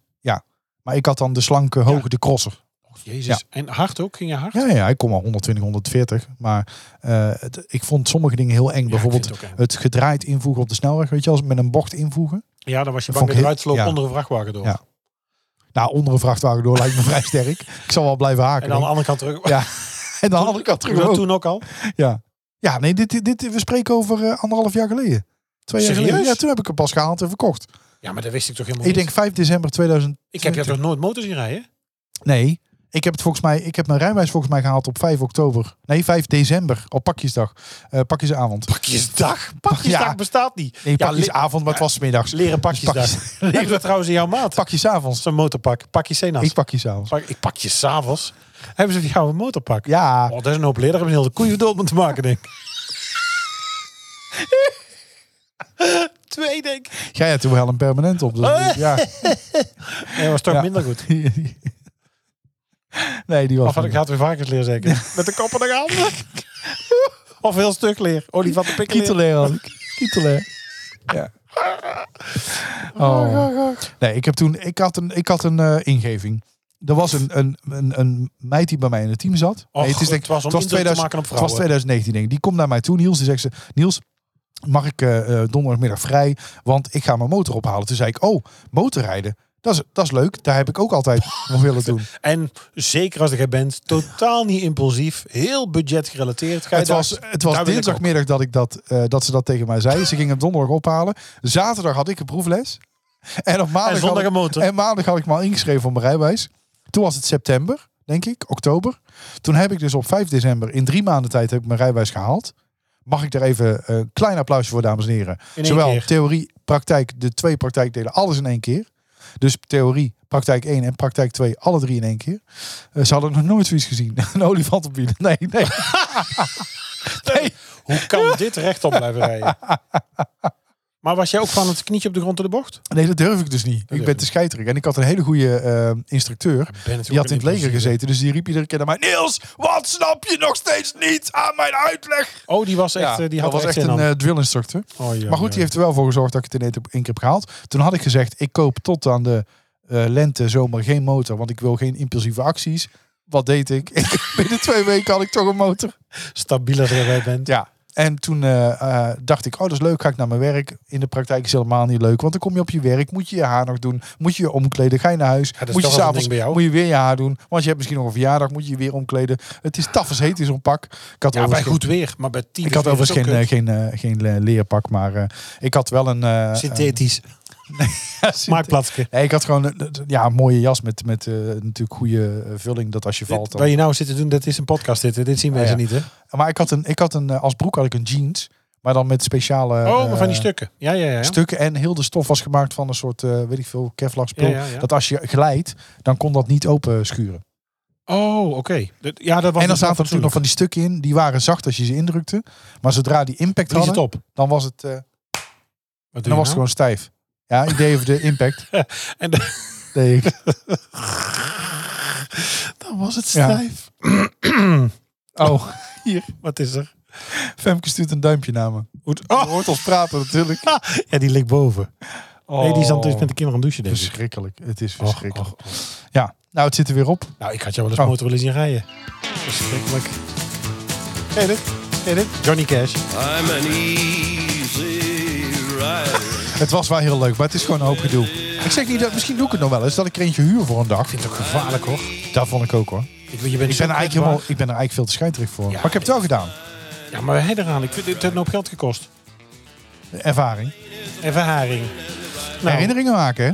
S2: Maar ik had dan de slanke, hoge, de crosser.
S3: Oh, jezus. En hard ook? Ging je hard?
S2: Ja, ja, ik kom al 120, 140. Maar eh, het- ik vond sommige dingen heel eng.
S3: ik
S2: Bijvoorbeeld
S3: vind het ook eng.
S2: het gedraaid invoegen op de snelweg. Weet je, als met een bocht invoegen.
S3: Ja, dan was je
S2: Dat vond
S3: bang
S2: ik
S3: dat je eruit
S2: heel-
S3: sloop
S2: ja.
S3: onder een vrachtwagen door.
S2: Ja. Nou, onder een vrachtwagen door lijkt me vrij sterk. Ik zal wel blijven haken.
S3: En dan aan de
S2: denk
S3: andere kant terug.
S2: Ja, ik. En dan had ik al
S3: Doe je
S2: terug.
S3: dat
S2: omhoog.
S3: toen ook al?
S2: Ja. ja, nee, dit, dit, dit- we spreken over eh, anderhalf jaar geleden. Twee jaar
S3: Serieus?
S2: geleden. Ja, toen heb ik hem pas gehaald en verkocht.
S3: Ja, maar dat wist ik toch helemaal
S2: Ik
S3: niet.
S2: denk 5 december 2000.
S3: ik heb je toch nooit motor zien rijden?
S2: Nee, ik heb het volgens mij, ik heb mijn rijwijs volgens mij gehaald op 5 oktober. Nee, 5 december, op pakjesdag. Eh pakjesavond.
S3: Pakjesdag. Pakjesdag
S2: Ja.
S3: bestaat niet.
S2: Nee,
S3: Ja,
S2: pakjesavond, maar het was Dus 's middags.
S3: le- leren pakjesdag.
S2: Pakjes-
S3: Heb je dat trouwens in jouw maat?
S2: Pakjesavonds.
S3: Zo'n motorpak. Pak je zenas.
S2: Ik pakjesavonds.
S3: Pak, ik pak je s'avonds. Hebben ze voor jou een motorpak?
S2: Ja,
S3: Oh, dat is een hoop leer. Daar hebben ze heel de koeien dood mee te maken, denk ik. Twee, denk ik.
S2: jij had toen wel een permanent op. Dus, ja.
S3: Nee, dat was toch
S2: Ja.
S3: Eh. minder goed.
S2: nee, die
S3: Of
S2: was.
S3: had ik
S2: minder.
S3: had weer varkensleer zeker. Met de kop aan de handen. of heel stuk leer. Olifant de pikkel.
S2: Kieteleer had ik. Kieteleer. Ja. Oh. Nee, ik heb toen, ik had een, ik had een eh, ingeving. Er was een, een, een, een meid die bij mij in het team zat.
S3: Och,
S2: Nee, het, is denk,
S3: het was om indruk te maken op
S2: het was
S3: vrouwen.
S2: 2019 denk ik. Die komt naar mij toe, Niels. Die zegt ze, Niels, mag ik eh, eh, donderdagmiddag vrij? Want ik ga mijn motor ophalen. Toen zei ik, oh, motorrijden. Dat is, dat is leuk. Daar heb ik ook altijd van willen doen.
S3: En zeker als jij bent, totaal niet impulsief. Heel budgetgerelateerd. Ga je
S2: Het was,
S3: daar-
S2: het was
S3: daar wil ik
S2: dinsdagmiddag dat, ik dat, eh, dat ze dat tegen mij zei. Ze ging hem donderdag ophalen. Zaterdag had ik een proefles. En op maandag,
S3: zondag
S2: had, ik-
S3: een motor.
S2: En maandag had ik me al ingeschreven voor mijn rijwijs. Toen was het september, denk ik, oktober. Toen heb ik dus op 5 december in drie maanden tijd heb ik mijn rijwijs gehaald. Mag ik daar even eh, een klein applausje voor, dames en heren?
S3: één
S2: Zowel
S3: keer.
S2: theorie, praktijk, de twee praktijkdelen, alles in één keer. Dus theorie, praktijk 1 en praktijk 2, alle drie in één keer. Eh, ze hadden nog nooit zoiets gezien. een olifant op wielen. Nee, nee. nee.
S3: Hoe kan dit rechtop blijven rijden? Maar was jij ook van het knietje op de grond in de bocht?
S2: Nee, dat durf ik dus niet. ik
S3: durf
S2: ben te scheiterig. En ik had een hele goede eh, instructeur.
S3: Ben
S2: Die had in het leger gezeten, dus die riep iedere keer naar mij... Niels, wat snap je nog steeds niet aan mijn uitleg?
S3: Oh, die was echt,
S2: Ja,
S3: eh, die had
S2: dat
S3: er
S2: was echt
S3: echt in
S2: een
S3: aan.
S2: eh, drill instructor.
S3: Oh, ja,
S2: maar goed,
S3: ja.
S2: die heeft er wel voor gezorgd dat ik het in één één keer heb gehaald. Toen had ik gezegd, ik koop tot aan de eh, lente, zomer geen motor. Want ik wil geen impulsieve acties. Wat deed ik? Ik- Binnen twee weken had ik toch een motor.
S3: stabieler dan jij bent.
S2: eh, Ja. En toen eh, eh, dacht ik, oh dat is leuk, ga ik naar mijn werk. In de praktijk is het helemaal niet leuk. Want dan kom je op je werk, moet je je haar nog doen. Moet je je omkleden, ga je naar huis.
S3: dat is
S2: moet je
S3: toch wel een
S2: s'avonds,
S3: ding bij jou.
S2: moet je weer je haar doen. Want je hebt misschien nog een verjaardag, moet je je weer omkleden. Het is taf als heet in zo'n pak. Ik had
S3: Ja, bij
S2: overigens geen-
S3: goed weer, maar bij tien
S2: ik had overigens geen, eh, geen, eh, geen eh, leerpak, maar eh, ik had wel een... eh,
S3: synthetisch
S2: een- synth-
S3: maakplaatsje.
S2: Nee, ik had gewoon een, een- ja, een mooie jas met, met eh, natuurlijk goede eh, vulling, dat als je valt
S3: Dit,
S2: dan...
S3: wat je nou zit te doen, dat is een podcast dit. hè. Dit zien mensen
S2: ja. Eh,
S3: niet, hè?
S2: Maar ik had, een, ik had een, eh, als broek had ik een jeans, maar dan met speciale...
S3: Oh, maar van die
S2: eh,
S3: stukken. Ja, ja, ja.
S2: stukken. En heel de stof was gemaakt van een soort, eh, weet ik veel, Kevlar spul.
S3: Ja, ja, ja.
S2: Dat als je glijdt, dan kon dat niet open eh, schuren.
S3: Oh, oké. Dat- Ja,
S2: en dan
S3: dat was dus
S2: zaten
S3: wel
S2: natuurlijk nog
S3: fatsoenlijk.
S2: van die stukken in. Die waren zacht als je ze indrukte. Maar zodra die impact
S3: Vries het
S2: hadden,
S3: op.
S2: dan was het, eh,
S3: Wat
S2: dan was het
S3: doe je nou?
S2: gewoon stijf. Ja, ik deed even de impact.
S3: En dan-
S2: deed ik.
S3: dan was het
S2: Ja.
S3: stijf.
S2: Oh,
S3: Wat is er?
S2: Femke stuurt een duimpje naar me.
S3: Goed.
S2: Je
S3: Oh,
S2: hoort ons praten natuurlijk.
S3: ja, die ligt boven. Nee, die
S2: Oh.
S3: zat dus met de kinderen aan het douchen, denk ik.
S2: Verschrikkelijk. Het is
S3: Och,
S2: verschrikkelijk.
S3: och, och.
S2: Ja, nou het zit er weer op.
S3: Nou, ik had jou wel eens
S2: Oh.
S3: motor willen zien rijden. Verschrikkelijk. Ken je dit? Ken je dit? Johnny Cash.
S2: Het was wel heel leuk, maar het is gewoon een hoop gedoe. Ik zeg niet dat, misschien doe ik het nog wel eens, dat ik er eentje huur voor een dag.
S3: Vind het ook gevaarlijk, hoor.
S2: Dat vond ik ook hoor.
S3: Ik, je bent
S2: Ik
S3: zo
S2: ben, er eigenlijk
S3: kwetsbaar.
S2: helemaal, ik ben er eigenlijk veel te scheiterig voor.
S3: Ja.
S2: maar ik heb het wel gedaan.
S3: Ja, maar hij eraan. Ik vind het heeft een hoop geld gekost.
S2: Ervaring.
S3: Nou. En verharing. Nou,
S2: Herinneringen maken, hè?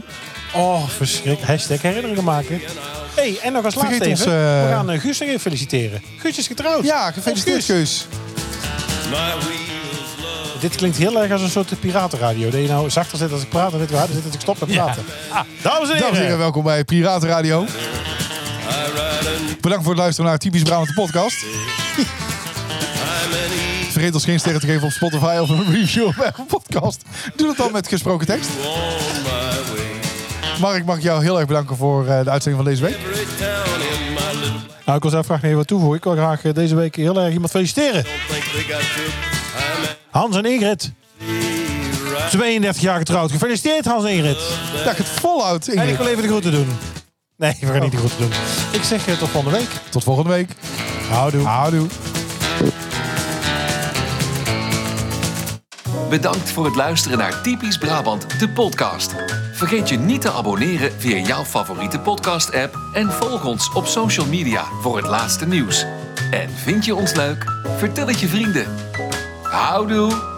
S3: Oh, verschrikkelijk. Hashtag herinneringen maken. hey, en nog als laatste
S2: Vergeet
S3: even.
S2: ons, eh,
S3: We gaan eh, Guus nog even feliciteren. Guus is getrouwd.
S2: Ja, gefeliciteerd,
S3: Guus.
S2: Keus.
S3: Dit klinkt heel erg als een soort piratenradio. Dat je nou zachter zit als ik praat en dit weer harder zit als ik stop met praten. dames en
S2: Ah. Dames en heren,
S3: heren.
S2: welkom bij Piratenradio. Bedankt voor het luisteren naar Typisch Brabant de podcast. Vergeet ons geen sterren te geven op Spotify of een review op Apple Podcast. Doe dat dan met gesproken tekst. Mark, mag ik jou heel erg bedanken voor eh, de uitzending van deze week.
S3: Nou, ik wil zelf graag nog even wat toevoegen. Ik wil graag eh, deze week heel erg iemand feliciteren. Hans en Ingrid. 32 jaar getrouwd. Gefeliciteerd, Hans en Ingrid.
S2: Dat je het volhoudt,
S3: En ik
S2: Ingrid.
S3: wil even de groeten doen. Nee, we gaan niet de groeten doen. Ik zeg eh, tot volgende week.
S2: Tot volgende week.
S3: Houdoe.
S2: Houdoe.
S1: Bedankt voor het luisteren naar Typisch Brabant, de podcast. Vergeet je niet te abonneren via jouw favoriete podcast-app en volg ons op social media voor het laatste nieuws. En vind je ons leuk? Vertel het je vrienden. Houdoe!